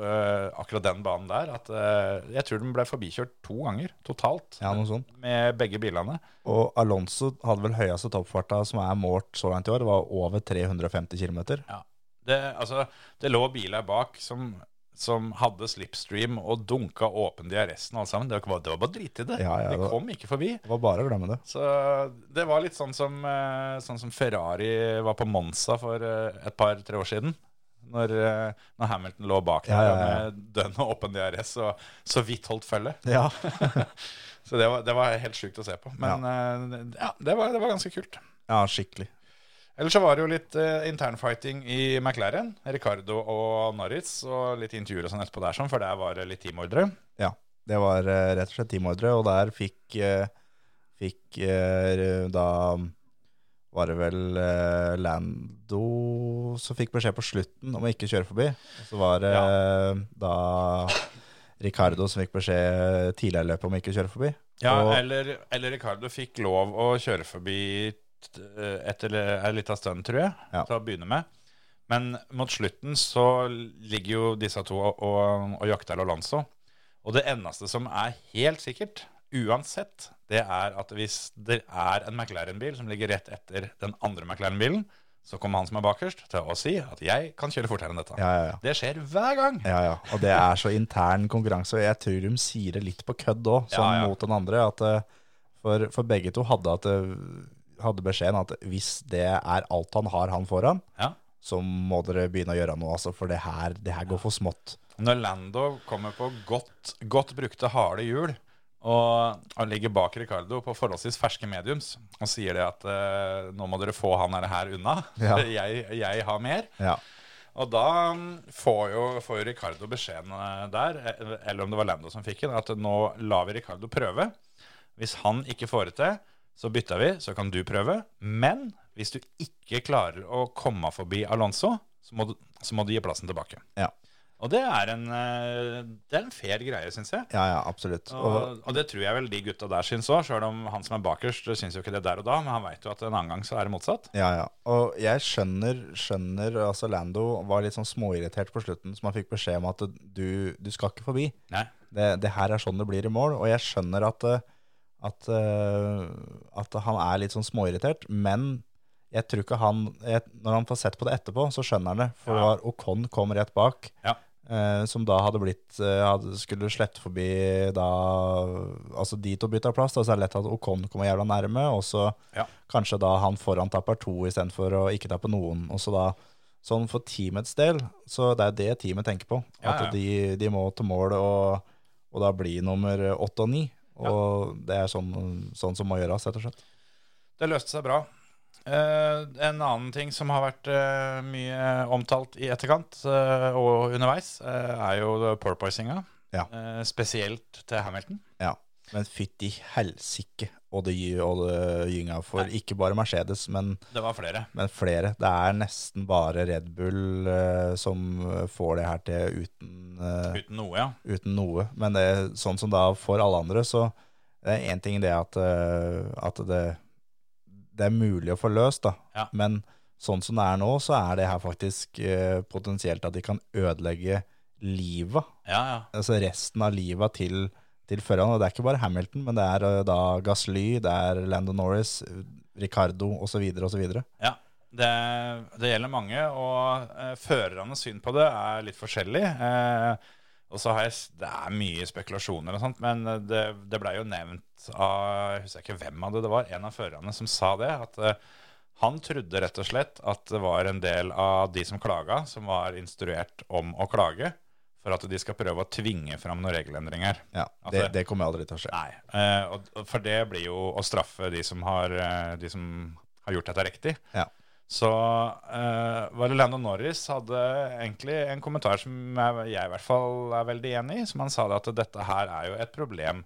Speaker 4: eh, akkurat den banen der at eh, Jeg tror den ble forbikjørt to ganger totalt
Speaker 5: Ja, noe sånt.
Speaker 4: med begge bilene.
Speaker 5: Og Alonso hadde vel høyeste toppfarta som er målt så langt i år, var over 350 km.
Speaker 4: Det, altså, det lå biler bak som, som hadde slipstream og dunka åpen diaressen alle sammen. Det var, det var bare drit i det.
Speaker 5: Ja, ja,
Speaker 4: de
Speaker 5: det-
Speaker 4: kom ikke forbi.
Speaker 5: Det var bare å glemme det.
Speaker 4: Så det var litt sånn som, eh, sånn som Ferrari var på Monza for eh, et par-tre år siden. Når, eh, når Hamilton lå bak der
Speaker 5: Ja, ja, ja.
Speaker 4: med dønn og åpen DRS og så vidt holdt følge.
Speaker 5: Ja.
Speaker 4: Så det var, det var helt sjukt å se på. Men eh, ja, det, var, det var ganske kult.
Speaker 5: ja, skikkelig.
Speaker 4: Ellers så var det jo litt eh, internfighting i McLaren. Ricardo og Norris og litt intervjuer og sånn etterpå der, sånn, for der var det litt teamordre.
Speaker 5: Ja. Det var eh, rett og slett teamordre, og der fikk, eh, fikk eh, da var det vel eh, Lando som fikk beskjed på slutten om å ikke kjøre forbi. Og så var det eh, da Ricardo som fikk beskjed tidligere i løpet om å ikke kjøre forbi.
Speaker 4: Ja,
Speaker 5: og,
Speaker 4: eller, eller Ricardo fikk lov å kjøre forbi t- eh, et eller et lite stund, tror jeg,
Speaker 5: Ja.
Speaker 4: til å begynne med. Men mot slutten så ligger jo disse to og, og, og jakter Alonso. Og det eneste som er helt sikkert, uansett, det er at hvis det er en McLaren-bil som ligger rett etter den andre McLaren-bilen, så kommer han som er bakerst til å si at 'jeg kan kjøre fortere enn dette'.
Speaker 5: ja, ja, ja.
Speaker 4: Det skjer hver gang.
Speaker 5: Ja, ja. Og det er så intern konkurranse. og Jeg tror de sier det litt på kødd òg, sånn
Speaker 4: Ja, ja.
Speaker 5: mot den andre. At eh, for, for begge to hadde, at, eh, hadde beskjeden at hvis det er alt han har, han foran,
Speaker 4: Ja.
Speaker 5: så må dere begynne å gjøre noe, altså, for det her, det her går for smått.
Speaker 4: Når Lando kommer på godt, godt brukte harde hjul og, og ligger bak Ricardo på forholdsvis ferske mediums og sier det at eh, nå må dere få han her- her unna,
Speaker 5: Ja.
Speaker 4: [LAUGHS] jeg, jeg har mer.
Speaker 5: Ja.
Speaker 4: Og da mm, får jo, får jo Ricardo beskjeden eh, der, eh, eller om det var Lando som fikk den, at nå lar vi Ricardo prøve. Hvis han ikke får det til, så bytter vi, så kan du prøve. Men hvis du ikke klarer å komme forbi Alonso, så må du, så må du gi plassen tilbake.
Speaker 5: Ja,
Speaker 4: Og det er en, eh, det er en fair greie, syns jeg.
Speaker 5: ja, ja absolutt. Og,
Speaker 4: Og, og det tror jeg vel de gutta der syns òg, sjøl om han som er bakerst, syns jo ikke det der og da, men han veit jo at en annen gang så er det motsatt.
Speaker 5: ja, ja. og jeg skjønner, skjønner altså Lando var litt sånn småirritert på slutten, som han fikk beskjed om at du, du skal ikke forbi.
Speaker 4: Nei.
Speaker 5: det, det her er sånn det blir i mål, og jeg skjønner at, eh, at, eh, at han er litt sånn småirritert, men jeg tror ikke han, jeg, når han får sett på det etterpå, så skjønner han det, for det
Speaker 4: Ja.
Speaker 5: var Ocon kom rett bak,
Speaker 4: Ja.
Speaker 5: eh, som da hadde blitt, eh, hadde, skulle slette forbi da, altså dit å bytte plass, da, så er det lett at Ocon kommer jævla nærme, og så
Speaker 4: Ja.
Speaker 5: kanskje da han foran tapper to i stedet for å ikke tappe noen, og så da, sånn for teamets del, så det er det teamet tenker på,
Speaker 4: Ja, ja.
Speaker 5: at de, de må til mål og, og da bli nummer åtte og ni. Og det er sånn, sånn som må gjøres, rett og slett.
Speaker 4: Det løste seg bra. Eh, en annen ting som har vært eh, mye omtalt i etterkant eh, og underveis, eh, er jo porpoisinga.
Speaker 5: Ja.
Speaker 4: Eh, spesielt til Hamilton.
Speaker 5: Ja. Men fytti helsike og det, gy- og det gynga for ikke bare Mercedes, men,
Speaker 4: Det var flere.
Speaker 5: men flere. Det er nesten bare Red Bull eh, som får det her til uten eh,
Speaker 4: Uten noe, ja.
Speaker 5: uten noe. Men det, er sånn som da for alle andre, så det er én ting det at, eh, at det, det er mulig å få løst, da.
Speaker 4: Ja.
Speaker 5: Men sånn som det er nå, så er det her faktisk eh, potensielt at de kan ødelegge livet,
Speaker 4: Ja, ja.
Speaker 5: altså resten av livet til, til førerne. Og det er ikke bare Hamilton, men det er eh, da Gasly, det er Lando Norris, Ricardo osv. osv.
Speaker 4: Ja, Det, det gjelder mange, og eh, førernes syn på det er litt forskjellig. Eh, og så har jeg, s- Det er mye spekulasjoner og sånt, men eh, det, det blei jo nevnt av Jeg husker ikke hvem av det det var, en av førerne som sa det. At eh, han trodde rett og slett at det var en del av de som klaga, som var instruert om å klage, for at de skal prøve å tvinge fram noen regelendringer.
Speaker 5: Ja,
Speaker 4: At
Speaker 5: det,
Speaker 4: det-
Speaker 5: det kommer aldri til å skje.
Speaker 4: Nei. eh, og, og for det blir jo å straffe de som har, eh, de som har gjort dette riktig.
Speaker 5: Ja.
Speaker 4: Så eh, var det Lando Norris hadde egentlig en kommentar som jeg, jeg i hvert fall er veldig enig i, som han sa det at dette her er jo et problem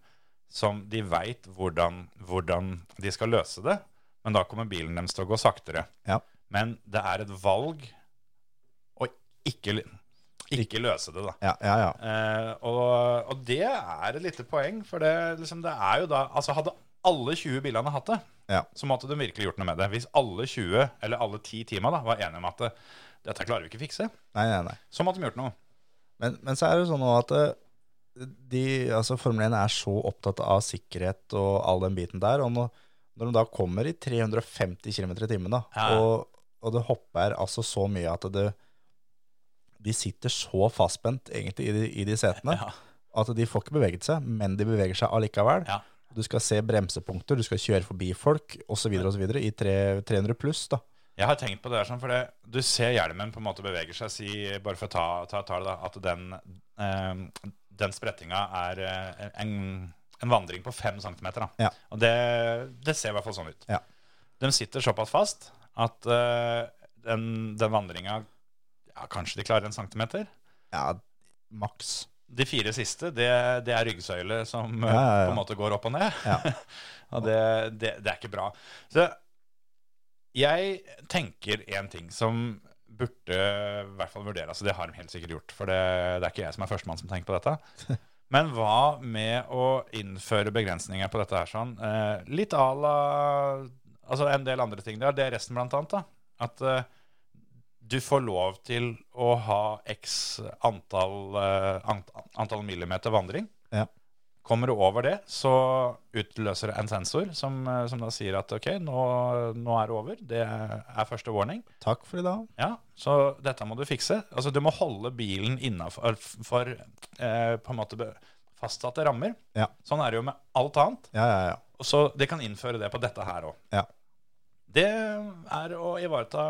Speaker 4: som de veit hvordan, hvordan de skal løse det, men da kommer bilen deres til å gå saktere.
Speaker 5: Ja.
Speaker 4: Men det er et valg å ikke, ikke løse det, da.
Speaker 5: Ja, ja, ja.
Speaker 4: Eh, og, og det er et lite poeng, for det, liksom, det er jo da Altså, hadde alle 20 bilene hatt det,
Speaker 5: Ja.
Speaker 4: så måtte de virkelig gjort noe med det. Hvis alle 20, eller alle 10 timer, da, var enige om at eh, dette klarer vi ikke fikse,
Speaker 5: Nei, nei, nei.
Speaker 4: så måtte de gjort noe.
Speaker 5: Men, men så er det jo sånn nå at eh, de, altså Formel 1 er så opptatt av sikkerhet og all den biten der. Og når, når de da kommer i 350 km i timen, da,
Speaker 4: Ja.
Speaker 5: og, og det hopper altså så mye at det, de sitter så fastspent egentlig i de, i de setene
Speaker 4: Ja.
Speaker 5: at de får ikke beveget seg, men de beveger seg allikevel.
Speaker 4: Ja.
Speaker 5: Du skal se bremsepunkter, du skal kjøre forbi folk osv. videre i tre- 300 pluss. da.
Speaker 4: Jeg har tenkt på det her sånn, for det, du ser hjelmen på en måte beveger seg, si, bare for å ta, ta, ta det, da, at den, eh, den sprettinga er eh, en, en vandring på fem centimeter. Da.
Speaker 5: Ja.
Speaker 4: Og det, det ser i hvert fall sånn ut.
Speaker 5: Ja.
Speaker 4: De sitter såpass fast at eh, den, den vandringa ja, Kanskje de klarer en centimeter.
Speaker 5: Ja, maks.
Speaker 4: De fire siste, det, det er ryggsøyle som eh,
Speaker 5: Ja, ja, ja.
Speaker 4: på en måte går opp og ned.
Speaker 5: Ja.
Speaker 4: [LAUGHS] og det, det, det er ikke bra. Så jeg tenker en ting som burde i hvert fall vurderes, og det har de helt sikkert gjort, for det, det er ikke jeg som er førstemann som tenker på
Speaker 5: [LAUGHS]
Speaker 4: dette. Men hva med å innføre begrensninger på dette her sånn? Eh, litt à la altså en del andre ting. Det er det resten blant annet, da. At eh, du får lov til å ha x antall, eh, ant, antall millimeter vandring.
Speaker 5: Ja.
Speaker 4: Kommer du over det, så utløser det en sensor som, eh, som da sier at ok, nå, nå er det over. Det er første warning.
Speaker 5: Takk for i dag.
Speaker 4: Ja, så dette må du fikse. Altså, du må holde bilen innafor for, eh, på en måte be- fastsatte rammer.
Speaker 5: Ja.
Speaker 4: Sånn er det jo med alt annet.
Speaker 5: Ja, ja, ja.
Speaker 4: Og Så de kan innføre det på dette her òg.
Speaker 5: Ja.
Speaker 4: Det er å ivareta,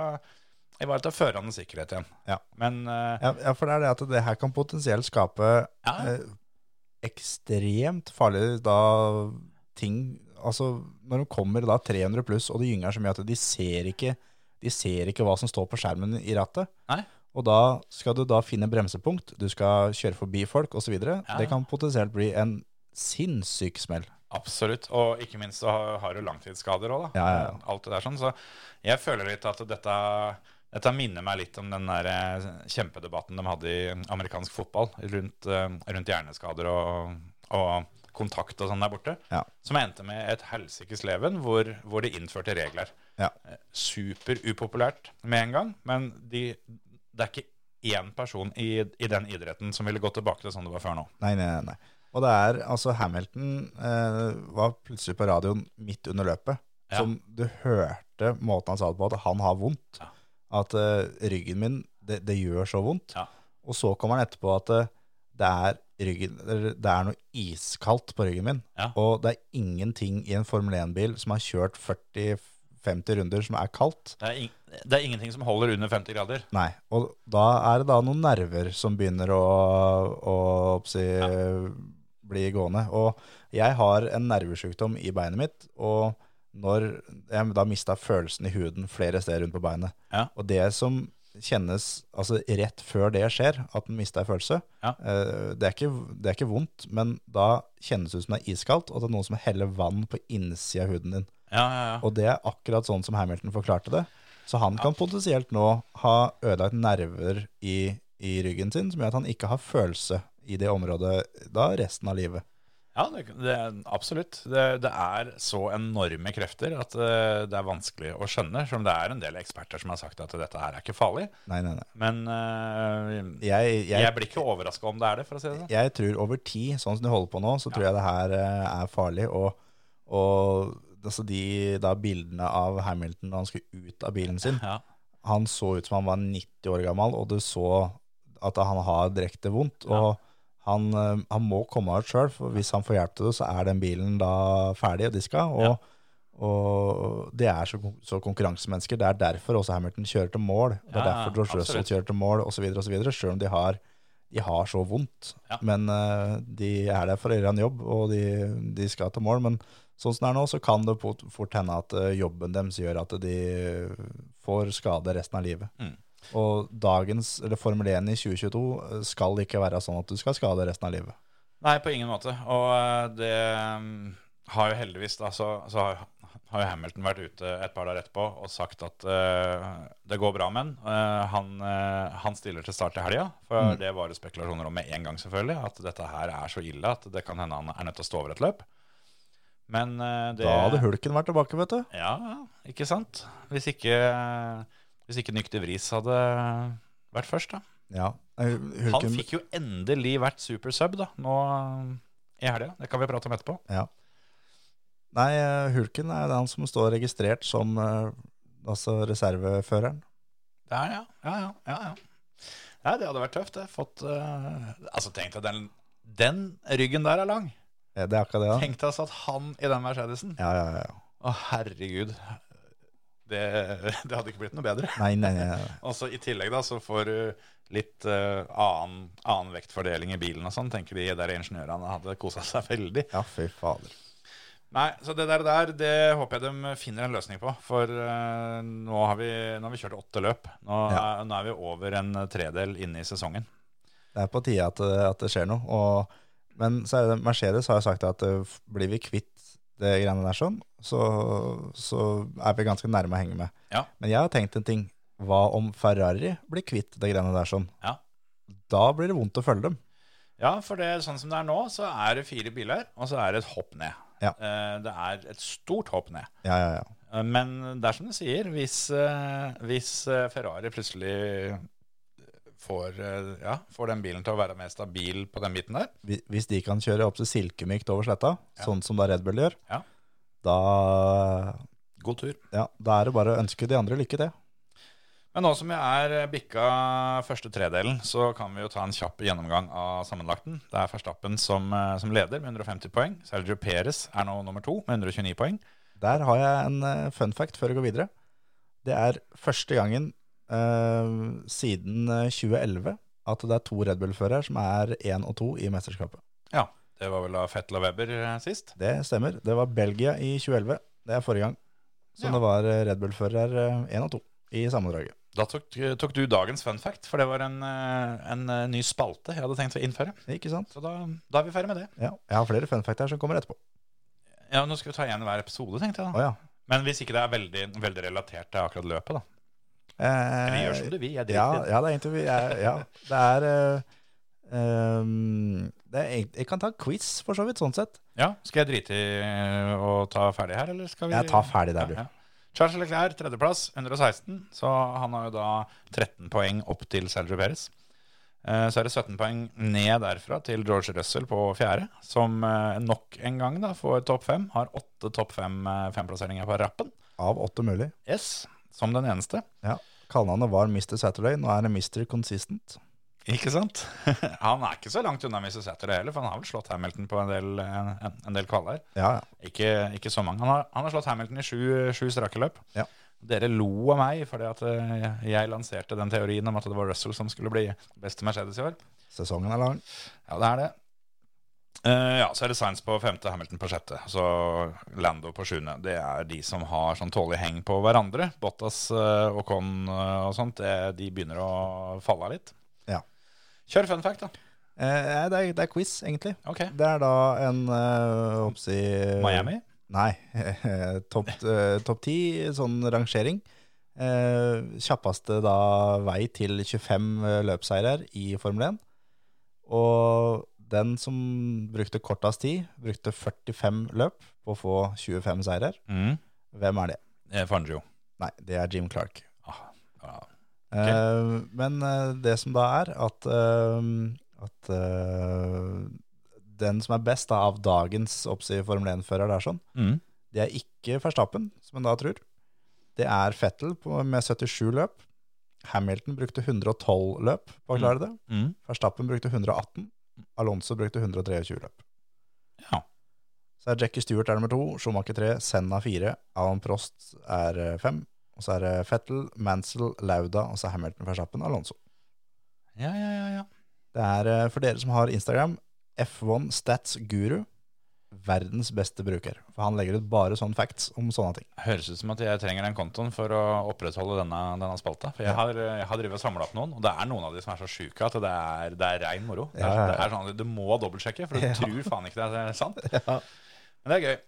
Speaker 4: ivareta førernes sikkerhet igjen.
Speaker 5: Ja.
Speaker 4: Men eh,
Speaker 5: Ja, ja, for det er det at det her kan potensielt skape
Speaker 4: Ja.
Speaker 5: eh, ekstremt farlige da, ting. Altså, når de kommer da 300 pluss, og det gynger så mye at de ser ikke, de ser ikke hva som står på skjermen i rattet.
Speaker 4: Nei.
Speaker 5: Og da skal du da finne bremsepunkt, du skal kjøre forbi folk osv. videre
Speaker 4: Ja.
Speaker 5: Det kan potensielt bli en sinnssyk smell.
Speaker 4: absolutt. Og ikke minst så har- har du langtidsskader òg, da.
Speaker 5: Ja, ja, ja.
Speaker 4: Alt det der sånn. Så jeg føler litt at dette, dette minner meg litt om den der eh, kjempedebatten de hadde i amerikansk fotball rundt, eh, rundt hjerneskader og, og kontakt og sånn der borte.
Speaker 5: Ja.
Speaker 4: Som endte med et helsikes leven hvor, hvor de innførte regler.
Speaker 5: Ja.
Speaker 4: Eh, Superupopulært med en gang, men de, det er ikke én person i, i den idretten som ville gått tilbake til sånn det var før nå.
Speaker 5: Nei, nei, nei, nei. Og det er altså Hamilton eh, var plutselig på radioen midt under løpet.
Speaker 4: Ja.
Speaker 5: Som du hørte måten han sa det på, at han har vondt.
Speaker 4: Ja.
Speaker 5: At eh, ryggen min, det, det gjør så vondt.
Speaker 4: Ja.
Speaker 5: Og så kommer han etterpå at eh, det er, ryggen, eller det er noe iskaldt på ryggen min.
Speaker 4: Ja.
Speaker 5: Og det er ingenting i en Formel 1-bil som har kjørt 40-50 runder som er kaldt.
Speaker 4: Det er, ing, det er ingenting som holder under 50 grader.
Speaker 5: Nei, og da er det da noen nerver som begynner å, å oppsi, bli gående. Og jeg har en nervesjukdom i beinet mitt, og når jeg da mista følelsen i huden flere steder rundt på beinet.
Speaker 4: Ja.
Speaker 5: Og det som kjennes altså rett før det skjer, at den mista en følelse,
Speaker 4: Ja.
Speaker 5: eh, det, er ikke, det er ikke vondt, men da kjennes det ut som det er iskaldt, og at det er noen som heller vann på innsida av huden din.
Speaker 4: Ja, ja, ja.
Speaker 5: Og det er akkurat sånn som Hamilton forklarte det. Så han kan potensielt nå ha ødelagt nerver i, i ryggen sin, som gjør at han ikke har følelse i det området da resten av livet.
Speaker 4: Ja, det, det, absolutt. Det, det er så enorme krefter at eh, det er vanskelig å skjønne. Selv om det er en del eksperter som har sagt at dette her er ikke farlig.
Speaker 5: Nei, nei, nei.
Speaker 4: Men eh,
Speaker 5: Jeg,
Speaker 4: jeg,
Speaker 5: jeg,
Speaker 4: blir ikke overraska om det er det, for å si det sånn.
Speaker 5: jeg tror over tid, sånn som de holder på nå, så tror jeg det her eh, er farlig. Og, og altså de da bildene av Hamilton da han skulle ut av bilen sin
Speaker 4: Ja.
Speaker 5: Han så ut som han var 90 år gammel, og du så at han har direkte vondt. Og han, eh, han må komme ut sjøl, for hvis han får hjelp til det, så er den bilen da ferdig og diska. Og,
Speaker 4: Ja.
Speaker 5: og det er så, kon- så konkurransemennesker. Det er derfor også Hamilton kjører til mål. Det er
Speaker 4: Ja, ja,
Speaker 5: derfor George Russell
Speaker 4: absolutt.
Speaker 5: kjører til mål, osv., osv. Sjøl om de har, de har så vondt.
Speaker 4: Ja.
Speaker 5: Men eh, de er der for å gjøre en jobb, og de, de skal til mål. Men sånn som det er nå, så kan det fort fort hende at eh, jobben deres gjør at de får skade resten av livet.
Speaker 4: Mm.
Speaker 5: Og dagens, eller Formel 1 i 2022 skal ikke være sånn at du skal skade resten av livet.
Speaker 4: Nei, på ingen måte. Og eh, det mm, har jo heldigvis da, så, så har, har jo Hamilton vært ute et par dager etterpå og sagt at eh, det går bra med han. Eh, han, eh, han stiller til start i helga.
Speaker 5: Mm.
Speaker 4: For det var det spekulasjoner om med en gang, selvfølgelig. At dette her er så ille at det kan hende han er nødt til å stå over et løp. Men eh, det
Speaker 5: Da hadde hulken vært tilbake, vet du.
Speaker 4: Ja, ikke sant? Hvis ikke, hvis ikke Nykter Vris hadde vært først, da.
Speaker 5: Ja. eh,
Speaker 4: Han
Speaker 5: Hulken,
Speaker 4: fikk jo endelig vært super sub da, nå eh, i helga. Det kan vi prate om etterpå.
Speaker 5: Ja. Nei, eh, hulken er den som står registrert som eh, altså reserveføreren.
Speaker 4: Det er, ja. Ja, ja, ja, ja. Nei, det hadde vært tøft. Det. Fått, eh, altså, tenk deg den, den ryggen der er lang.
Speaker 5: Eh, Det er akkurat det, da.
Speaker 4: Tenk deg å satt han i den Mercedesen.
Speaker 5: Ja, ja, ja, ja.
Speaker 4: Å, herregud. Det, det hadde ikke blitt noe bedre.
Speaker 5: Nei, nei, nei. nei.
Speaker 4: Og så I tillegg da, så får du litt eh, annen, annen vektfordeling i bilen og sånn. Tenker de der ingeniørene hadde kosa seg veldig.
Speaker 5: Ja, fy fader.
Speaker 4: Nei, så det der, der det håper jeg de finner en løsning på. For eh, nå, har vi, nå har vi kjørt åtte løp. Nå,
Speaker 5: Ja.
Speaker 4: er, nå er vi over en eh, tredel inne i sesongen.
Speaker 5: Det er på tide at, det- at det skjer noe. Og, men så er det, Mercedes har jo sagt at eh, f- blir vi kvitt det greiene der sånn, så, så er vi ganske nærme å henge med.
Speaker 4: Ja.
Speaker 5: Men jeg har tenkt en ting. Hva om Ferrari blir kvitt det greiene der sånn?
Speaker 4: Ja.
Speaker 5: Da blir det vondt å følge dem.
Speaker 4: Ja, for det, sånn som det er nå, så er det fire biler, og så er det et hopp ned.
Speaker 5: Ja.
Speaker 4: Eh, det er et stort hopp ned.
Speaker 5: Ja, ja, ja.
Speaker 4: Eh, men det er som du sier, hvis, eh, hvis eh, Ferrari plutselig eh, får, eh, ja, får den bilen til å være mer stabil på den biten der
Speaker 5: Hvi- Hvis de kan kjøre opp til silkemykt over sletta, sånn som da Red Bull gjør,
Speaker 4: Ja.
Speaker 5: da,
Speaker 4: God tur.
Speaker 5: ja, da er det bare å ønske de andre lykke til.
Speaker 4: Men nå som vi er eh, bikka første tredelen, så kan vi jo ta en kjapp gjennomgang av sammenlagten. Det er Verstappen som, eh, som leder med 150 poeng. Sergio Perez er nå nummer to med 129 poeng.
Speaker 5: Der har jeg en eh, fun fact før jeg går videre. Det er første gangen eh, siden eh, 2011 at det er to Red Bull-førere som er én og to i mesterskapet.
Speaker 4: Ja, det var vel av Fettel og Weber eh, sist.
Speaker 5: Det stemmer. Det var Belgia i 2011. Det er forrige gang. Så
Speaker 4: Ja.
Speaker 5: det var eh, Red Bull-fører én og to i sammendraget.
Speaker 4: Da tok, eh, tok du dagens fun fact, for det var en, eh, en eh, ny spalte jeg hadde tenkt å innføre.
Speaker 5: Ikke sant?
Speaker 4: Så da, da er vi ferdig med det.
Speaker 5: Ja. Jeg har flere fun facts her som kommer etterpå.
Speaker 4: Ja, Nå skal vi ta igjen hver episode, tenkte
Speaker 5: Å
Speaker 4: jeg da.
Speaker 5: ja.
Speaker 4: Men hvis ikke det er veldig, veldig relatert til akkurat løpet, da.
Speaker 5: Eh,
Speaker 4: Vi gjør som du vil. Jeg
Speaker 5: Ja,
Speaker 4: driter i det.
Speaker 5: ja, det er egentlig vi er, ja, det er, eh, ehm, det er egentlig, Jeg kan ta quiz, for så vidt, sånn sett.
Speaker 4: Ja, skal jeg drite i eh, å ta ferdig her, eller skal vi
Speaker 5: Jeg tar ferdig der, du.
Speaker 4: Ja, ja. Charles Leclerc, tredjeplass, 116. Så han har jo da 13 poeng opp til Sergio Perez. Eh, Så er det 17 poeng ned derfra til George Russell på fjerde, som eh, nok en gang da får topp fem. Har åtte topp fem eh, femplasseringer på rappen.
Speaker 5: Av åtte mulig.
Speaker 4: Yes, som den eneste.
Speaker 5: Ja. Kallenavnet var Mr. Saturday, nå er det Mr. Consistent.
Speaker 4: Ikke sant? [LAUGHS] Han er ikke så langt unna Mrs. Saturday heller, for han har vel slått Hamilton på en del, eh, en, en- en del kvaler.
Speaker 5: Ja, ja.
Speaker 4: Ikke, ikke så mange. Han har, han har slått Hamilton i sju, sju strake løp.
Speaker 5: Ja.
Speaker 4: Dere lo av meg fordi at eh, jeg lanserte den teorien om at det var Russell som skulle bli beste Mercedes i år.
Speaker 5: Sesongen er lang.
Speaker 4: Ja, det er det. Eh, ja, Så er det Sainz på femte, Hamilton på sjette. Så Lando på sjuende. Det er de som har sånn tålelig heng på hverandre. Bottas eh, og Con og sånt, det, de begynner å falle av litt.
Speaker 5: Ja.
Speaker 4: Kjør fun fact, da.
Speaker 5: Eh, nei, det, er, det er quiz, egentlig.
Speaker 4: Ok.
Speaker 5: Det er da en eh, hoppsi,
Speaker 4: Miami?
Speaker 5: Nei. [LAUGHS] Topp eh, topp ti, sånn rangering. Eh, kjappeste da vei til 25 løpseirer i Formel 1. Og den som brukte kortest tid, brukte 45 løp på å få 25 seirer.
Speaker 4: Mm.
Speaker 5: Hvem er det?
Speaker 4: Eh, Fangio.
Speaker 5: Nei, det er Jim Clark.
Speaker 4: Ja.
Speaker 5: Eh, men eh, det som da er at, eh, at eh, den som er best da, av dagens oppsi Formel 1-fører, det er sånn,
Speaker 4: Mm.
Speaker 5: Det er ikke Verstappen, som en da tror. Det er Fettel på, med 77 løp. Hamilton brukte 112 løp på å klare det.
Speaker 4: Mm.
Speaker 5: Verstappen brukte 118. Alonso brukte 123 løp.
Speaker 4: Ja.
Speaker 5: Så er Jackie Stewart er nummer to, Schumacher tre, Senna fire, Alan Prost er eh, fem, og så er det Fettel, Mansell, Lauda, og så Hamilton, Verstappen, Alonso.
Speaker 4: Ja, ja, ja, ja.
Speaker 5: Det er eh, for dere som har Instagram, F1 Stats Guru, verdens beste bruker. For han legger ut bare sånne facts om sånne ting.
Speaker 4: Høres ut som at jeg trenger den kontoen for å opprettholde denne, denne spalta. For jeg har, eh, jeg har drevet og samla opp noen, og det er noen av de som er så sjuke at det er, det er rein moro. Det er,
Speaker 5: Ja, ja, ja.
Speaker 4: det er sånn at Du må dobbeltsjekke, for du
Speaker 5: [LAUGHS] Ja.
Speaker 4: tror faen ikke det er sant.
Speaker 5: [LAUGHS] Ja.
Speaker 4: Men det er gøy.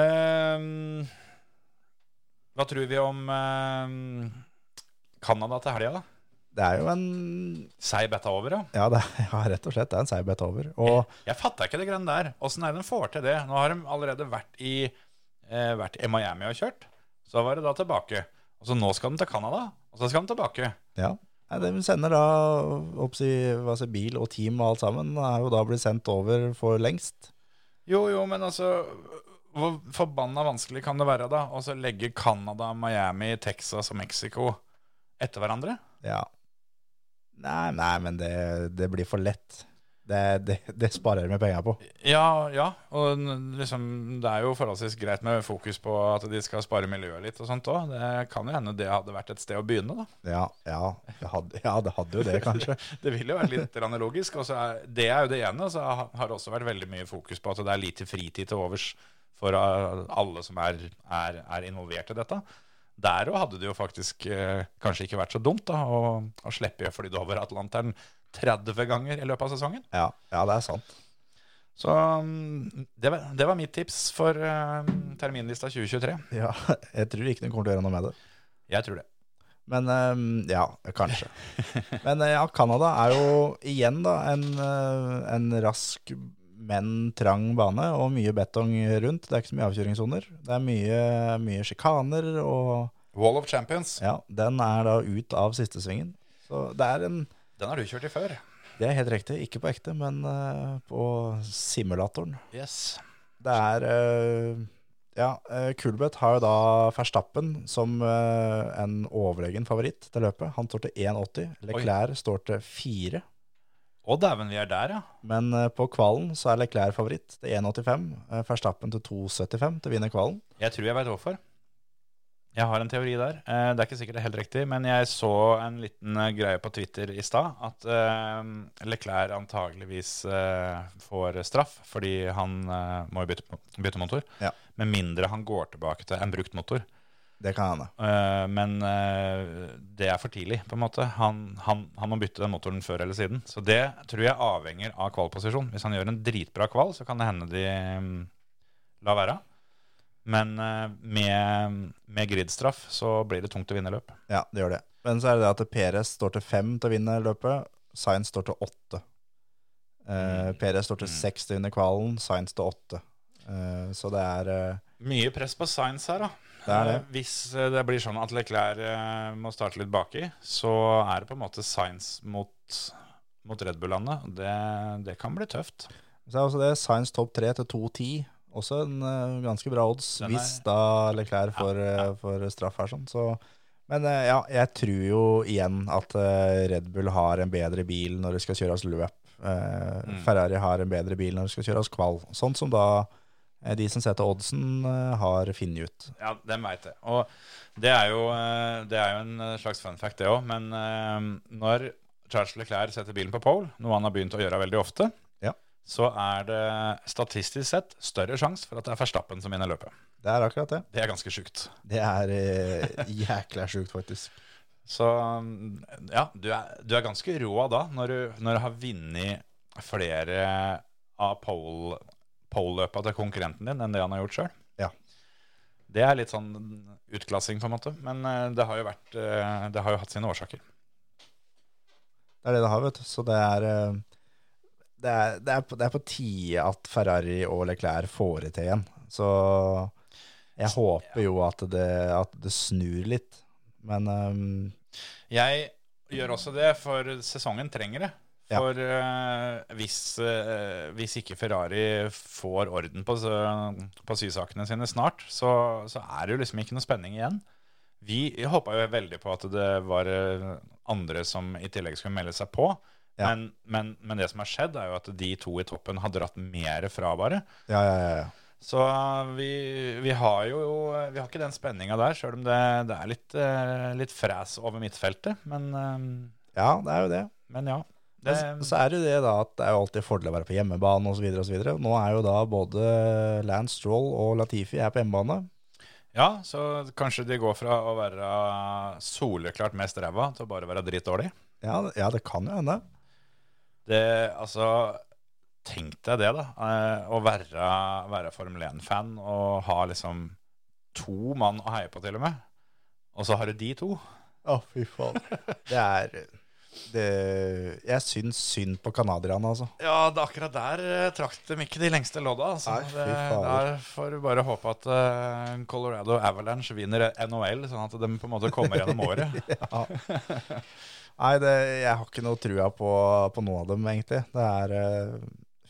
Speaker 4: Ehm, hva tror vi om ehm, Canada til helga, da?
Speaker 5: Det er jo en
Speaker 4: Seig betta over, ja.
Speaker 5: Ja, det er, [LAUGHS] ja rett og slett, det er en seigbet over. Og
Speaker 4: Jeg fatter ikke det greiene der. Åssen er det de får til det? Nå har de allerede vært i, eh, vært i Miami og kjørt. Så var det da tilbake. Og så nå skal de til Canada, og så skal de tilbake.
Speaker 5: ja, nei, det vi sender da oppsi, hva sier, bil og team og alt sammen, er jo da blitt sendt over for lengst.
Speaker 4: Jo, jo, men altså Hvor forbanna vanskelig kan det være, da? Og så legge Canada, Miami, Texas og Mexico etter hverandre?
Speaker 5: Ja. Nei, nei men det, det blir for lett. Det, det, det sparer vi penger på.
Speaker 4: Ja, ja. Og n- liksom, det er jo forholdsvis greit med fokus på at de skal spare miljøet litt og sånt òg. Det kan jo hende det hadde vært et sted å begynne, da.
Speaker 5: Ja, ja, det hadde, ja, det hadde jo det, kanskje.
Speaker 4: Det vil jo være litt grann logisk. Og så er, det er jo det ene. Og så ha- har det også vært veldig mye fokus på at det er lite fritid til overs for uh, alle som er, er, er involvert i dette. Der òg hadde det jo faktisk eh, kanskje ikke vært så dumt da, å, å slippe flydd over Atlanteren 30 ganger i løpet av sesongen.
Speaker 5: Ja, ja det er sant.
Speaker 4: Så mm, det var, det var mitt tips for eh, terminlista 2023.
Speaker 5: Ja, jeg tror ikke den kommer til å gjøre noe med det.
Speaker 4: Jeg tror det.
Speaker 5: Men ehm, ja, kanskje. Men eh, ja, Canada er jo igjen da en, eh, en rask, men trang bane, og mye betong rundt. Det er ikke så mye avkjøringssoner. Det er mye, mye sjikaner, og
Speaker 4: Wall of Champions.
Speaker 5: ja, den er da ut av siste svingen. Så det er en
Speaker 4: Den har du kjørt i før.
Speaker 5: Det er helt riktig. Ikke på ekte, men eh, på simulatoren.
Speaker 4: Yes.
Speaker 5: Det er eh, Ja, eh, Kulbeth har jo da Verstappen som eh, en overlegen favoritt til løpet. Han står til 1,80. Leclerc står til 4.
Speaker 4: Å dæven, vi er der, ja.
Speaker 5: Men eh, på kvalen så er Leclerc favoritt til 1,85. eh, Verstappen til 2,75 til å vinne kvalen.
Speaker 4: Jeg tror jeg veit hvorfor. Jeg har en teori der. Eh, Det er ikke sikkert det er helt riktig, men jeg så en liten eh, greie på Twitter i stad at eh, Leclerc antageligvis eh, får straff fordi han eh, må jo bytte, bytte motor.
Speaker 5: Ja.
Speaker 4: Med mindre han går tilbake til en brukt motor.
Speaker 5: Det kan hende.
Speaker 4: Eh, Men eh, det er for tidlig, på en måte. Han, han, han må bytte den motoren før eller siden. Så det tror jeg avhenger av kvalposisjon. Hvis han gjør en dritbra kval, så kan det hende de mm, lar være. Men eh, med, med gridstraff så blir det tungt å vinne løp.
Speaker 5: Ja, det gjør det. Men så er det det at Perez står til 5 til å vinne løpet. Sainz står til 8. Eh, Perez står til 6 til å vinne kvalen. Sainz til 8. Eh, så det er eh,
Speaker 4: Mye press på Science her, da.
Speaker 5: Det er det.
Speaker 4: Eh, Hvis eh, det blir sånn at Leclerc eh, må starte litt baki, så er det på en måte Science mot, mot Red Bull-landet. Det, det kan bli tøft.
Speaker 5: Så er også det Science topp 3 til 2.10. Også en eh, ganske bra odds
Speaker 4: Den er-
Speaker 5: hvis da Leclerc får, eh, får straff her. sånn. Så, men eh, ja, jeg tror jo igjen at eh, Red Bull har en bedre bil når det skal kjøres løp. Eh,
Speaker 4: Mm.
Speaker 5: Ferrari har en bedre bil når det skal kjøres kval. Sånn som da eh, de som setter oddsen, eh, har funnet ut.
Speaker 4: Ja, den veit jeg. Og det er, jo, eh, det er jo en eh, slags fun fact, det òg. Men eh, når Charles Leclerc setter bilen på pole, noe han har begynt å gjøre veldig ofte,
Speaker 5: Ja.
Speaker 4: så er det statistisk sett større sjanse for at det er Verstappen som vinner løpet.
Speaker 5: Det er akkurat det.
Speaker 4: Det er ganske sjukt.
Speaker 5: Det er eh, [LAUGHS] jækla sjukt, faktisk.
Speaker 4: Så mm, ja, du er, du er ganske rå da, når du, når du har vunnet flere av pole- pole-løpa til konkurrenten din enn det han har gjort sjøl.
Speaker 5: Ja.
Speaker 4: Det er litt sånn utklassing, på en måte. Men eh, det har jo, vært, eh, det har jo hatt sine årsaker.
Speaker 5: Det er det det har, vet du. Så det er eh, det er, det, er på, det er på tide at Ferrari og Leclerc får det til igjen. Så jeg håper jo at det, at det snur litt. Men eh,
Speaker 4: Jeg gjør også det, for sesongen trenger det.
Speaker 5: Ja.
Speaker 4: For eh, hvis, eh, hvis ikke Ferrari får orden på, s- på sysakene sine snart, så, så er det jo liksom ikke noe spenning igjen. Vi håpa jo veldig på at det var eh, andre som i tillegg skulle melde seg på.
Speaker 5: Ja.
Speaker 4: Men, men, men det som har skjedd, er jo at de to i toppen har dratt mer fra, bare.
Speaker 5: Ja, ja, ja, ja.
Speaker 4: Så eh, vi, vi har jo Vi har ikke den spenninga der, sjøl om det, det er litt, eh, litt fræs over midtfeltet. Men, eh,
Speaker 5: ja det er jo det.
Speaker 4: men ja.
Speaker 5: Men
Speaker 4: Det,
Speaker 5: s- så er det jo det da at det er jo alltid fordel å være på hjemmebane osv. Nå er jo da både Lance Stroll og Latifi er på hjemmebane.
Speaker 4: ja, så kanskje de går fra å være soleklart mest ræva til å bare være dritdårlig.
Speaker 5: Ja, det- ja det kan jo hende.
Speaker 4: Det, altså, tenk deg det, da. eh, Å være, være Formel 1-fan og ha liksom to mann å heie på, til og med. Og så har du de to.
Speaker 5: Å, fy faen. [LAUGHS] Det er det, Jeg syns synd på canadierne, altså.
Speaker 4: Ja, det akkurat der eh, trakk dem ikke de lengste lodda. Altså.
Speaker 5: Nei, fy
Speaker 4: det,
Speaker 5: fader.
Speaker 4: der får du bare håpe at eh, Colorado Avalanche vinner NHL, sånn at de på en måte kommer
Speaker 5: [LAUGHS]
Speaker 4: gjennom året.
Speaker 5: Ja. Nei, det, jeg har ikke noe trua på, på noen av dem, egentlig. Det er eh,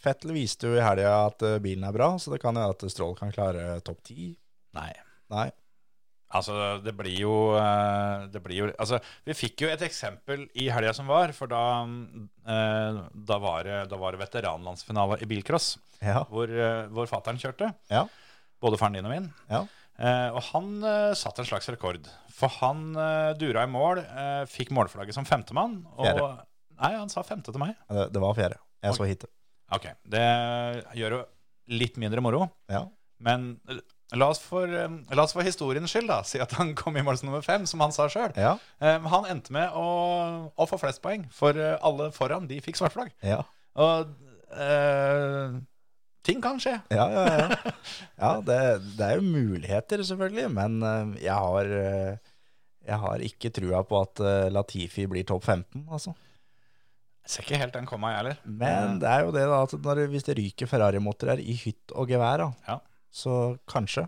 Speaker 5: Fettel viste jo i helga at eh, bilen er bra, så det kan jo være at Strål kan klare eh, topp ti.
Speaker 4: Nei.
Speaker 5: Nei.
Speaker 4: Altså, det blir jo eh, Det blir jo Altså, vi fikk jo et eksempel i helga som var, for da, mm, eh, da, var, det- da var det veteranlandsfinale i bilcross,
Speaker 5: Ja.
Speaker 4: hvor, eh, hvor fattern kjørte.
Speaker 5: Ja.
Speaker 4: Både faren din og min.
Speaker 5: Ja.
Speaker 4: Eh, og han eh, satt en slags rekord. For han eh, dura i mål, eh, fikk målflagget som femtemann. Og,
Speaker 5: Fjerde.
Speaker 4: Nei, han sa femte til meg.
Speaker 5: Det, det var fjerde. Jeg så hit.
Speaker 4: Ok, Det gjør jo litt mindre moro.
Speaker 5: Ja.
Speaker 4: Men eh, la oss for, eh, la oss for historiens skyld da, si at han kom i mål som nummer fem, som han sa sjøl.
Speaker 5: Ja.
Speaker 4: han endte med å, å få flest poeng, for eh, alle foran de fikk svart flagg.
Speaker 5: Ja.
Speaker 4: Og eh, ting kan skje.
Speaker 5: Ja, ja, ja. ja det, det er jo muligheter, selvfølgelig, men eh, jeg har eh, jeg har ikke trua på at eh, Latifi blir topp 15, altså.
Speaker 4: Jeg ser ikke helt den komme, jeg heller.
Speaker 5: Men det er jo det, da, at når, hvis det ryker Ferrari-motorer i hytt og gevær, da,
Speaker 4: Ja.
Speaker 5: så kanskje.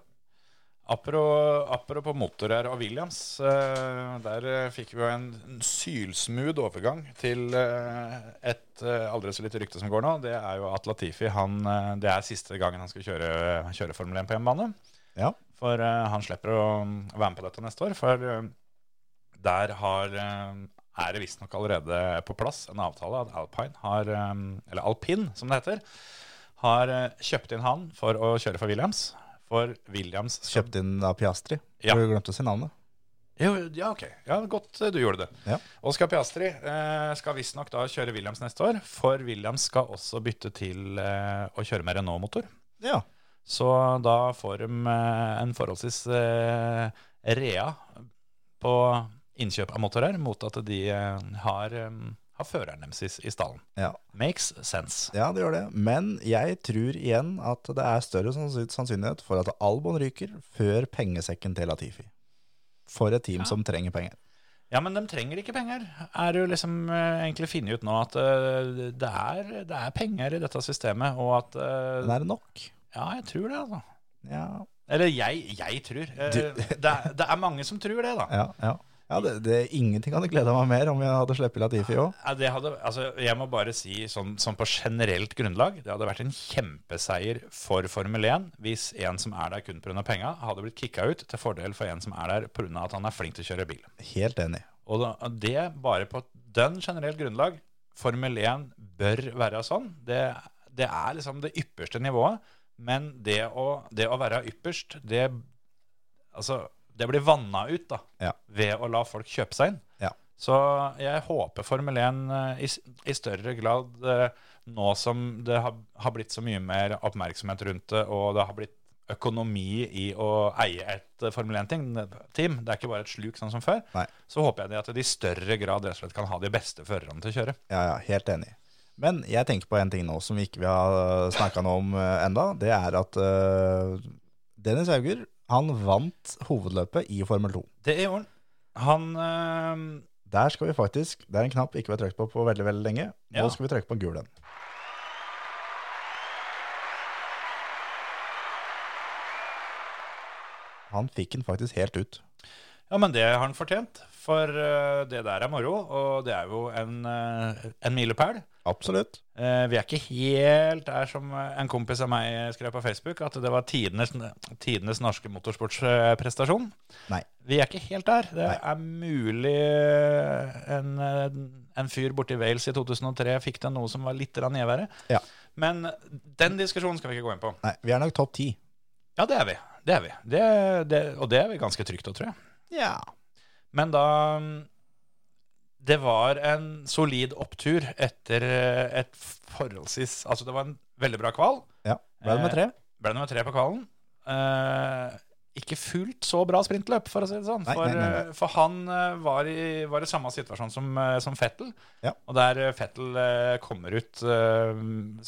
Speaker 4: Apropos, apropos motorer og Williams, eh, der eh, fikk vi jo en en sylsmooth overgang til eh, et eh, aldri så lite rykte som går nå. Det er jo at Latifi han, eh, Det er siste gangen han skal kjøre, kjøre Formel 1 på hjemmebane.
Speaker 5: Ja.
Speaker 4: For eh, han slipper å være med på dette neste år. For eh, der har, eh, er det visstnok allerede på plass en avtale at Alpine har eh, Eller Alpin, som det heter. Har eh, kjøpt inn han for å kjøre for Williams. For Williams skal
Speaker 5: Kjøpt inn av Piastri.
Speaker 4: Ja.
Speaker 5: Du glemte å si navnet.
Speaker 4: jo, ja, ok. Ja, Godt eh, du gjorde det.
Speaker 5: Ja.
Speaker 4: Oscar Piastri eh, skal visstnok da kjøre Williams neste år, for Williams skal også bytte til eh, å kjøre med Renault-motor.
Speaker 5: Ja.
Speaker 4: Så da får de eh, en forholdsvis eh, rea på innkjøp av motorer, mot at de eh, har, eh, har føreren deres i, i stallen.
Speaker 5: Ja.
Speaker 4: Makes sense.
Speaker 5: ja, det gjør det. Men jeg tror igjen at det er større sannsyn- sannsynlighet for at Albon ryker før pengesekken til Latifi. For et team som trenger penger.
Speaker 4: Ja, men de trenger ikke penger. Er jo liksom eh, egentlig funnet ut nå at eh, det, er, det er penger i dette systemet, og at eh,
Speaker 5: Men er det nok?
Speaker 4: Ja, jeg tror det, altså.
Speaker 5: Ja,
Speaker 4: Eller jeg, jeg tror. Eh,
Speaker 5: Du-
Speaker 4: det, er, det er mange som tror det, da.
Speaker 5: ja. ja. ja det, det, ingenting hadde gleda meg mer om jeg hadde sluppet Latifi òg.
Speaker 4: Ja, Det hadde, altså, jeg må bare si sånn, sånn på generelt grunnlag Det hadde vært en kjempeseier for Formel 1 hvis en som er der kun pga. penga, hadde blitt kicka ut til fordel for en som er der pga. at han er flink til å kjøre bil.
Speaker 5: Helt enig.
Speaker 4: Og da, det bare på den generelt grunnlag. Formel 1 bør være sånn. Det, det er liksom det ypperste nivået. Men det å, det å være ypperst, det, altså, det blir vanna ut da,
Speaker 5: Ja.
Speaker 4: ved å la folk kjøpe seg inn.
Speaker 5: Ja.
Speaker 4: Så jeg håper Formel 1 eh, i, s- i større grad eh, nå som det har, har blitt så mye mer oppmerksomhet rundt det, og det har blitt økonomi i å eie et eh, Formel 1-team, det er ikke bare et sluk sånn som før,
Speaker 5: Nei.
Speaker 4: så håper jeg det at de i større grad rett og slett kan ha de beste førerne til å kjøre.
Speaker 5: Ja, ja, helt enig. Men jeg tenker på en ting nå som vi ikke har snakka noe om eh, enda. Det er at eh, Dennis Hauger han vant hovedløpet i Formel 2.
Speaker 4: Det er Jorden. Han eh,
Speaker 5: Der skal vi faktisk, Det er en knapp ikke vi har trykt på på veldig veldig lenge. Nå
Speaker 4: Ja.
Speaker 5: skal vi trykke på gul en. Han fikk den faktisk helt ut.
Speaker 4: Ja, men det har han fortjent. For eh, det der er moro, og det er jo en, eh, en milepæl.
Speaker 5: Absolutt.
Speaker 4: Eh, vi er ikke helt der som eh, en kompis av meg skrev på Facebook, at det var tidenes, tidenes norske motorsportsprestasjon.
Speaker 5: Nei.
Speaker 4: Vi er ikke helt der. Det er mulig eh, en, eh, en fyr borti Wales i 2003 fikk til noe som var litt grann nedvære.
Speaker 5: Ja.
Speaker 4: Men den diskusjonen skal vi ikke gå inn på.
Speaker 5: Nei, vi er nok topp ti.
Speaker 4: Ja, det er vi. Det er vi. Det, det, og det er vi ganske trygt å, tror jeg.
Speaker 5: Ja.
Speaker 4: Men da mm, Det var en solid opptur etter eh, et forholdsvis Altså, det var en veldig bra kval.
Speaker 5: ja. Ble det med tre?
Speaker 4: Ble nummer tre på kvalen. Eh, ikke fullt så bra sprintløp, for å si det sånn.
Speaker 5: Nei,
Speaker 4: for,
Speaker 5: nei, nei, nei.
Speaker 4: eh, for han eh, var i, var i samme situasjon som, eh, som Fettel.
Speaker 5: Ja.
Speaker 4: Og der eh, Fettel eh, kommer ut eh,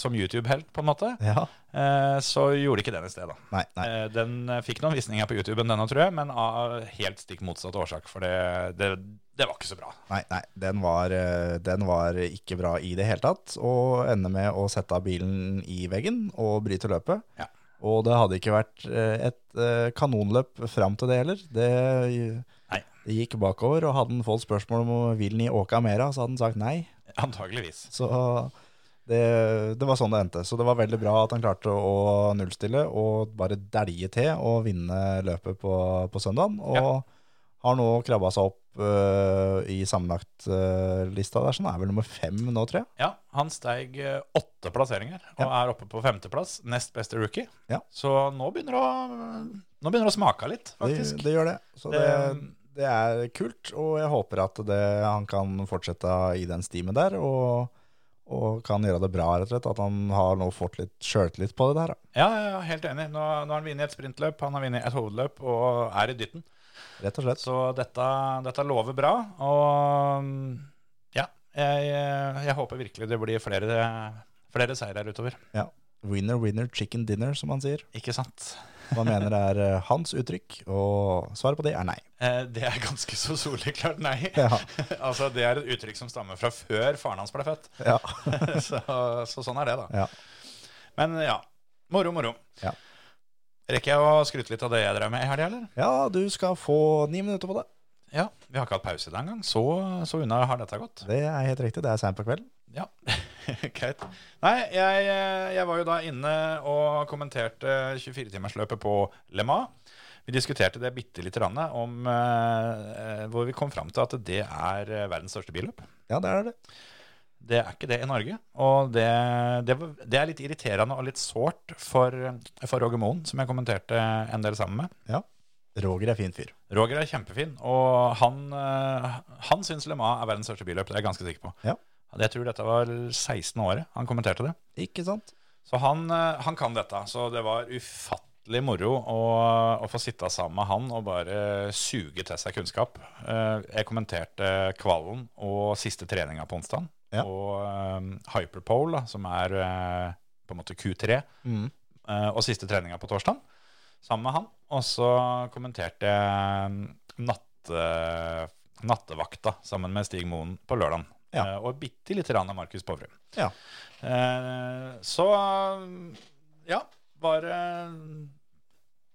Speaker 4: som YouTube-helt, på en måte,
Speaker 5: Ja.
Speaker 4: eh, så gjorde ikke den i sted, da.
Speaker 5: Nei, nei.
Speaker 4: Eh, den eh, fikk noen visninger på YouTube, denne, tror jeg, men av helt stikk motsatt årsak. For det, det, det var ikke så bra.
Speaker 5: Nei, nei, den var, eh, den var ikke bra i det hele tatt. Og ender med å sette bilen i veggen og bryte løpet.
Speaker 4: Ja.
Speaker 5: Og det hadde ikke vært eh, et eh, kanonløp fram til det heller. Det,
Speaker 4: Nei.
Speaker 5: det gikk bakover, og hadde han fått spørsmål om vil han i åka mera, så hadde han sagt nei.
Speaker 4: Antageligvis.
Speaker 5: Så det, det var sånn det endte. Så det var veldig bra at han klarte å nullstille og bare dælje til og vinne løpet på, på søndagen. Og
Speaker 4: Ja.
Speaker 5: har nå krabba seg opp øh, i sammenlagtlista der, så han er vel nummer fem nå, tror jeg.
Speaker 4: Ja, han steig eh, åtte plasseringer og er oppe på femteplass. Nest beste rookie.
Speaker 5: Ja.
Speaker 4: Så nå begynner det å, nå begynner det å smake litt,
Speaker 5: Det,
Speaker 4: faktisk. Ehm.
Speaker 5: det gjør det. Så det, det er kult, og jeg håper at det, han kan fortsette i den stimen der. og og kan gjøre det bra, rett og slett. At han har nå fått litt sjøltillit på det der. da.
Speaker 4: ja, ja, ja, helt enig. Nå, nå har han vunnet et sprintløp, han har vunnet et hovedløp og er i dytten.
Speaker 5: Rett og slett.
Speaker 4: Så dette, dette lover bra. Og mm, ja, jeg, jeg håper virkelig det blir flere, flere seier her utover.
Speaker 5: Ja. Winner, winner, chicken dinner, som han sier.
Speaker 4: Ikke sant?
Speaker 5: Man mener det er eh, hans uttrykk, og svaret på det er nei.
Speaker 4: Eh, Det er ganske så soleklart nei.
Speaker 5: Ja.
Speaker 4: altså, det er et uttrykk som stammer fra før faren hans ble
Speaker 5: [LAUGHS]
Speaker 4: født.
Speaker 5: Ja.
Speaker 4: så, så sånn er det, da.
Speaker 5: Ja.
Speaker 4: Men ja, moro, moro.
Speaker 5: Ja.
Speaker 4: Rekker jeg å skryte litt av det jeg drev med i helga, eller?
Speaker 5: du skal få ni minutter på det.
Speaker 4: Ja. Vi har ikke hatt pause i dag engang. Så, så unna har dette gått.
Speaker 5: Det er helt riktig, det er seint på kvelden.
Speaker 4: Ja, [LAUGHS] greit. Nei, jeg, jeg var jo da inne og kommenterte 24-timersløpet på Le Mans. Vi diskuterte det bitte lite grann om eh, hvor vi kom fram til at det er eh, verdens største billøp.
Speaker 5: Ja, det er det.
Speaker 4: Det er ikke det i Norge. Og det, det, var- det er litt irriterende og litt sårt for, for Roger Moen, som jeg kommenterte en del sammen med.
Speaker 5: Roger er fin fyr.
Speaker 4: Roger er kjempefin, og han, eh, han syns Le Mans er verdens største billøp. Det er jeg ganske sikker på.
Speaker 5: Ja.
Speaker 4: Jeg tror dette var 16. året han kommenterte det.
Speaker 5: Ikke sant?
Speaker 4: Så han, eh, han kan dette. Så det var ufattelig moro å, å få sitte sammen med han og bare suge til seg kunnskap. Eh, Jeg kommenterte kvalen og siste treninga på onsdag.
Speaker 5: Ja.
Speaker 4: Og eh, Hyperpole, da, som er eh, på en måte Q3,
Speaker 5: Mm.
Speaker 4: eh, og siste treninga på torsdag sammen med han. Og så kommenterte jeg natte, nattevakta sammen med Stig Moen på lørdagen.
Speaker 5: Ja.
Speaker 4: Eh, Og bitte lite grann av Markus Povrum.
Speaker 5: Ja.
Speaker 4: Eh, Så ja, bare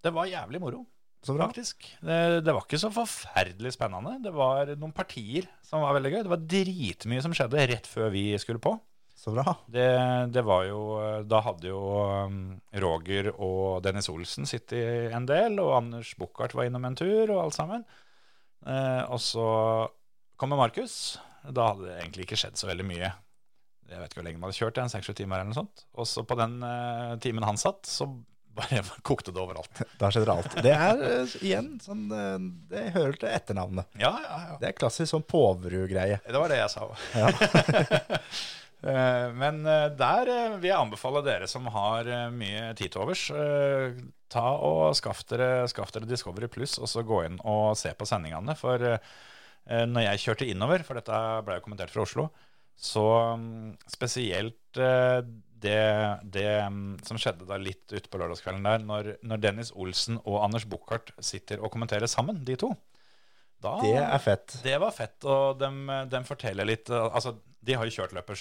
Speaker 4: Det var jævlig moro.
Speaker 5: Så bra.
Speaker 4: Faktisk. Det, det var ikke så forferdelig spennende. Det var noen partier som var veldig gøy. Det var dritmye som skjedde rett før vi skulle på.
Speaker 5: Så bra.
Speaker 4: Det, det var jo eh, Da hadde jo um, Roger og Dennis Olsen sittet en del, og Anders Buchardt var innom en tur, og alt sammen. Eh, og så kommer Markus. Da hadde det egentlig ikke skjedd så veldig mye. Jeg vet ikke hvor lenge man hadde kjørt, en seks-sju timer eller noe sånt. Og så på den eh, timen han satt, så bare [LAUGHS] kokte det overalt.
Speaker 5: Da skjer det alt. Det er eh, igjen sånn eh, Det hører til etternavnet.
Speaker 4: Ja, ja, ja.
Speaker 5: Det er klassisk sånn Poverud-greie.
Speaker 4: Det var det jeg sa òg. Men [LAUGHS] eh, der eh, vil jeg anbefale dere som har eh, mye tid til overs, eh, ta og skaff dere, skaff dere Discovery Pluss, og så gå inn og se på sendingene. For eh, eh, når jeg kjørte innover, for dette ble jo kommentert fra Oslo, så mm, spesielt eh, det, det mm, som skjedde da litt ute på lørdagskvelden der, når, når Dennis Olsen og Anders Buchardt sitter og kommenterer sammen, de to. Da,
Speaker 5: Det er fett.
Speaker 4: det var fett, og de, forteller litt eh, Altså, de har jo kjørt løper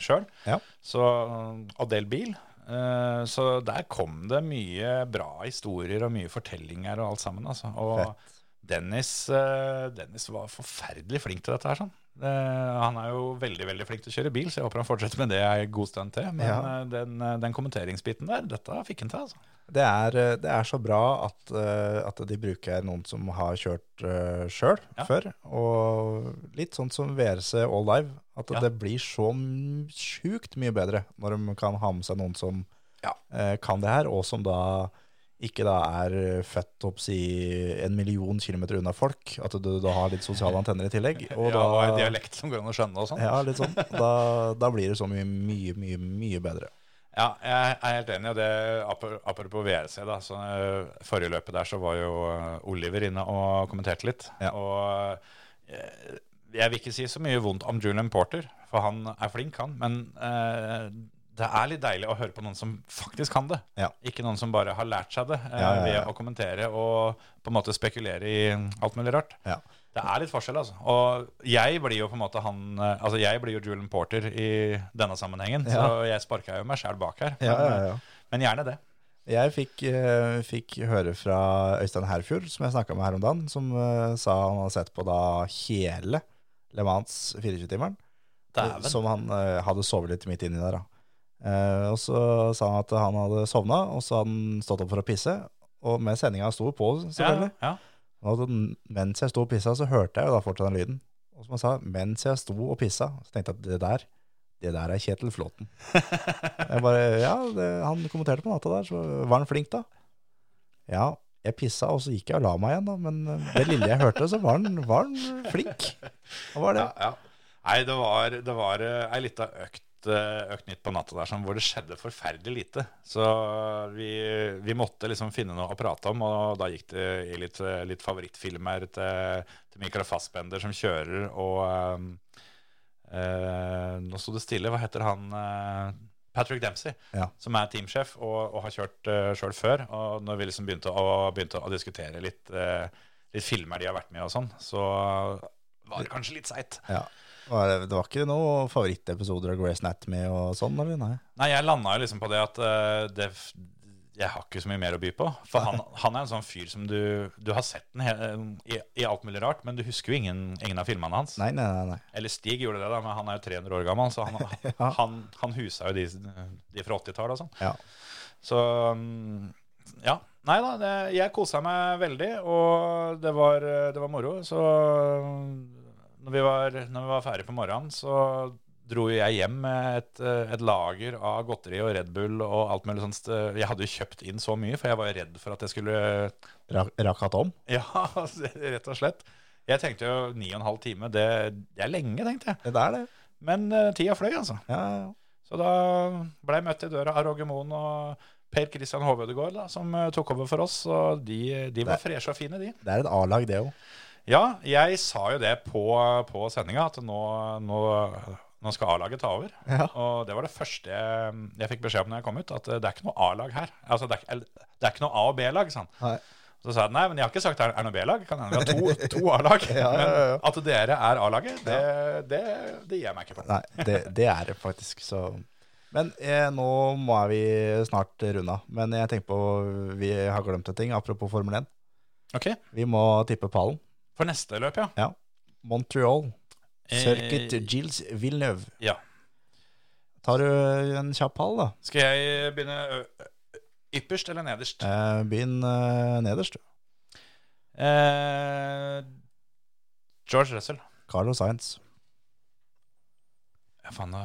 Speaker 4: sjøl,
Speaker 5: Ja.
Speaker 4: og del bil. eh, Så der kom det mye bra historier og mye fortellinger og alt sammen. Altså. Og
Speaker 5: Fett.
Speaker 4: Dennis, eh, Dennis var forferdelig flink til dette her. sånn. Det, han er jo veldig veldig flink til å kjøre bil, så jeg håper han fortsetter med det en god stund til. Men
Speaker 5: Ja.
Speaker 4: eh, den, eh, den kommenteringsbiten der, dette fikk han til. altså.
Speaker 5: Det er, eh, det er så bra at, eh, at de bruker noen som har kjørt uh, sjøl
Speaker 4: Ja.
Speaker 5: før. Og litt sånn som VRC All Live. At
Speaker 4: Ja.
Speaker 5: det blir så m- sjukt mye bedre når de kan ha med seg noen som
Speaker 4: Ja.
Speaker 5: eh, kan det her, og som da ikke da er født opp si en million kilometer unna folk. At du da har litt sosiale antenner i tillegg.
Speaker 4: [LAUGHS]
Speaker 5: Og
Speaker 4: ja,
Speaker 5: da,
Speaker 4: og en dialekt som går an å skjønne og sånn.
Speaker 5: ja, litt sånn. Da, da blir det så mye, mye, mye, mye bedre.
Speaker 4: Ja, jeg er helt enig. Og det, apro- apropos VRC, da. Så, eh, forrige løpet der så var jo eh, Oliver inne og kommenterte litt.
Speaker 5: Ja.
Speaker 4: Og eh, jeg vil ikke si så mye vondt om Julian Porter, for han er flink, han. Men eh, det er litt deilig å høre på noen som faktisk kan det.
Speaker 5: Ja.
Speaker 4: Ikke noen som bare har lært seg det eh,
Speaker 5: Ja, ja, ja.
Speaker 4: ved å kommentere og på en måte spekulere i alt mulig rart.
Speaker 5: Ja.
Speaker 4: Det er litt forskjell, altså. Og jeg blir jo på en måte han eh, Altså, jeg blir jo Julian Porter i denne sammenhengen, så jeg sparka jo meg sjæl bak her.
Speaker 5: Ja,
Speaker 4: Men,
Speaker 5: ja, ja.
Speaker 4: men gjerne det.
Speaker 5: Jeg fikk, eh, fikk høre fra Øystein Herfjord, som jeg snakka med her om dagen, som eh, sa han hadde sett på da hele Le Mans 24-timeren. eh,
Speaker 4: Dæven.
Speaker 5: Som han eh, hadde sovet litt midt inni der, da. Eh, og så sa han at han hadde sovna, og så hadde han stått opp for å pisse. Og med sendinga sto på, selvfølgelig.
Speaker 4: Ja,
Speaker 5: Og at den- mens jeg sto og pissa, så hørte jeg jo da fortsatt den lyden. Og som han sa, mens jeg sto og pissa, så tenkte jeg at det der, det der er Kjetil Flåten. Jeg bare, ja, det, han kommenterte på natta der, så var han flink da. Ja, jeg pissa, og så gikk jeg og la meg igjen da, men eh, det lille jeg hørte, så var han, var han flink. Han var
Speaker 4: ja.
Speaker 5: det.
Speaker 4: ja. Nei, det var, det var eh, ei lita økt, eh, økt nytt på natta der sånn, hvor det skjedde forferdelig lite. Så vi, vi måtte liksom finne noe å prate om, og da gikk det i litt, eh, litt favorittfilmer til, til Michael Fassbender som kjører, og eh, eh, Nå sto det stille. Hva heter han? eh, Patrick Dempsey,
Speaker 5: Ja.
Speaker 4: som er teamsjef og, og har kjørt uh, sjøl før. Og når vi liksom begynte å, begynte å diskutere litt, eh, litt filmer de har vært med i og sånn, så var det kanskje litt seigt.
Speaker 5: Ja. Var det- Det var ikke noen favorittepisoder av Grey's Anatomy og sånn, eller? Nei.
Speaker 4: Nei, jeg landa jo liksom på det at eh, det, f- jeg har ikke så mye mer å by på. For han, han er en sånn fyr som du Du har sett den he eh, i, i alt mulig rart, men du husker jo ingen, ingen av filmene hans.
Speaker 5: Nei, nei, nei, nei.
Speaker 4: Eller Stig gjorde det, da, men han er jo 300 år gammel, så han, han, han husa jo de, de fra 80-tallet og sånn.
Speaker 5: Ja.
Speaker 4: Så mm, ja. Nei da, det, jeg kosa meg veldig, og det var, det var moro. Så når vi var, når vi var ferdig på morgenen, så dro jo jeg hjem med et, eh, et lager av godteri og Red Bull og alt mulig sånt. Jeg hadde jo kjøpt inn så mye, for jeg var jo redd for at jeg skulle [LAUGHS]
Speaker 5: Ra- Rakk hatt om?
Speaker 4: Ja, altså, rett og slett. Jeg tenkte jo ni og en halv time, det, det er lenge, tenkte jeg.
Speaker 5: Det der det.
Speaker 4: Men eh, tida fløy, altså.
Speaker 5: Ja, ja.
Speaker 4: Så da ble jeg møtt i døra av Roger Moen og Per Kristian Hovødegård, da, som eh, tok over for oss. Og de, de var freshe og fine, de.
Speaker 5: Det er et A-lag det òg.
Speaker 4: Ja, jeg sa jo det på, på sendinga, at nå, nå, nå skal A-laget ta over.
Speaker 5: Ja.
Speaker 4: Og det var det første jeg, jeg fikk beskjed om når jeg kom ut, at eh, det er ikke noe A-lag her. Altså, det er, ikke- eller, det er ikke noe A- og B-lag, sa han.
Speaker 5: Nei.
Speaker 4: Så sa jeg nei, men jeg har ikke sagt det er- er noe B-lag. Kan hende vi har
Speaker 5: [LAUGHS]
Speaker 4: to, to A-lag.
Speaker 5: Ja, ja, ja, ja.
Speaker 4: Men at dere er A-laget, det, det, det gir jeg meg ikke på.
Speaker 5: Nei, det, det er det faktisk. Så. Men eh, nå må vi snart runde av. Men jeg tenker på vi har glemt en ting, apropos Formel 1.
Speaker 4: Ok,
Speaker 5: Vi må tippe pallen.
Speaker 4: For neste løp, ja.
Speaker 5: Ja. Montreal.
Speaker 4: Eh,
Speaker 5: Circuit Gilles Villeneuve.
Speaker 4: ja.
Speaker 5: Tar du en kjapp pall, da?
Speaker 4: Skal jeg begynne ø- ø- ypperst eller nederst?
Speaker 5: Eh, Begynn eh, nederst, du.
Speaker 4: Eh, George Russell.
Speaker 5: Carlos Sainz.
Speaker 4: Ja, faen, nå,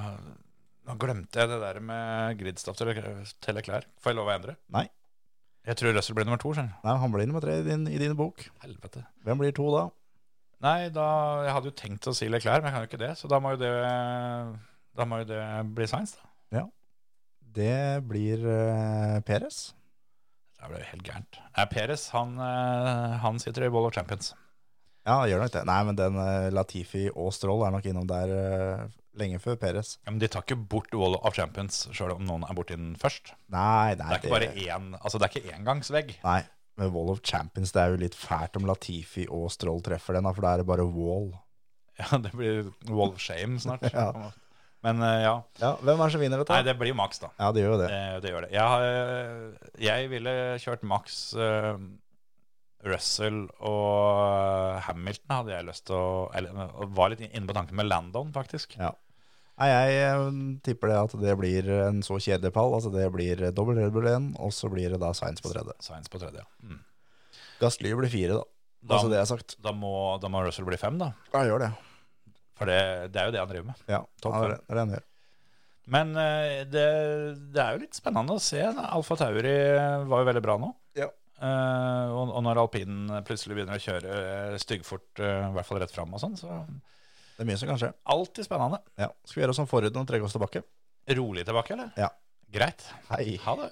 Speaker 4: nå glemte jeg det der med gridstaff til, til klær. Får jeg lov å endre?
Speaker 5: Nei.
Speaker 4: Jeg tror Russell blir nummer to. skjønner
Speaker 5: Nei, han blir nummer tre i din, i din bok.
Speaker 4: du. Helvete.
Speaker 5: Hvem blir to da?
Speaker 4: Nei, da, jeg hadde jo tenkt å si Leclerc, men jeg kan jo ikke det. Så da må jo det, da må jo det bli Science, da.
Speaker 5: Det blir eh, Perez.
Speaker 4: Det ble jo helt gærent. Nei, Peres, han, eh, han sitter i Ball of Champions.
Speaker 5: Ja, han gjør nok det. Nei, men den eh, Latifi og Stroll er nok innom der eh, lenge før Perez.
Speaker 4: Ja, men de tar ikke bort Wall of Champions sjøl om noen er borti den først.
Speaker 5: Nei,
Speaker 4: Det
Speaker 5: nei,
Speaker 4: er ikke bare én, altså det er ikke engangsvegg.
Speaker 5: Nei, men Wall of Champions, det er jo litt fælt om Latifi og Stroll treffer den, da, for da er det bare wall.
Speaker 4: [LAUGHS] Ja, det blir wall of shame [LAUGHS] snart.
Speaker 5: Ja.
Speaker 4: Men eh, ja.
Speaker 5: Ja, hvem er det som vinner dette?
Speaker 4: Nei, det blir jo Max, da.
Speaker 5: Ja, det gjør jo det.
Speaker 4: Det, det gjør det. Jeg, har, eh, jeg ville kjørt Max eh, Russell og Hamilton hadde jeg lyst til å Eller og var litt inne på tanken med Landon, faktisk.
Speaker 5: Ja. Nei, jeg eh, tipper det at det blir en så kjedelig pall. Altså det blir dobbel Red Bull 1, og så blir det da Science på tredje.
Speaker 4: Science på tredje. ja. Mm.
Speaker 5: Gassly blir fire, da.
Speaker 4: Da,
Speaker 5: Altså det jeg har sagt.
Speaker 4: da, må, da må Russell bli fem, da.
Speaker 5: Ja, gjør det.
Speaker 4: For det, det er jo det han driver med.
Speaker 5: Ja,
Speaker 4: Topp
Speaker 5: ja,
Speaker 4: fem.
Speaker 5: det er det han gjør.
Speaker 4: Men eh, det, det er jo litt spennende å se. da. Alfa Tauri eh, var jo veldig bra nå.
Speaker 5: Ja.
Speaker 4: Eh, og, og når alpinen plutselig begynner å kjøre eh, styggfort, eh, i hvert fall rett fram og sånn, så
Speaker 5: Det er mye som kan skje.
Speaker 4: alltid spennende.
Speaker 5: Ja. Skal vi gjøre oss som forhuden og trekke oss tilbake?
Speaker 4: Rolig tilbake, eller?
Speaker 5: Ja.
Speaker 4: Greit.
Speaker 5: Hei.
Speaker 4: Ha det.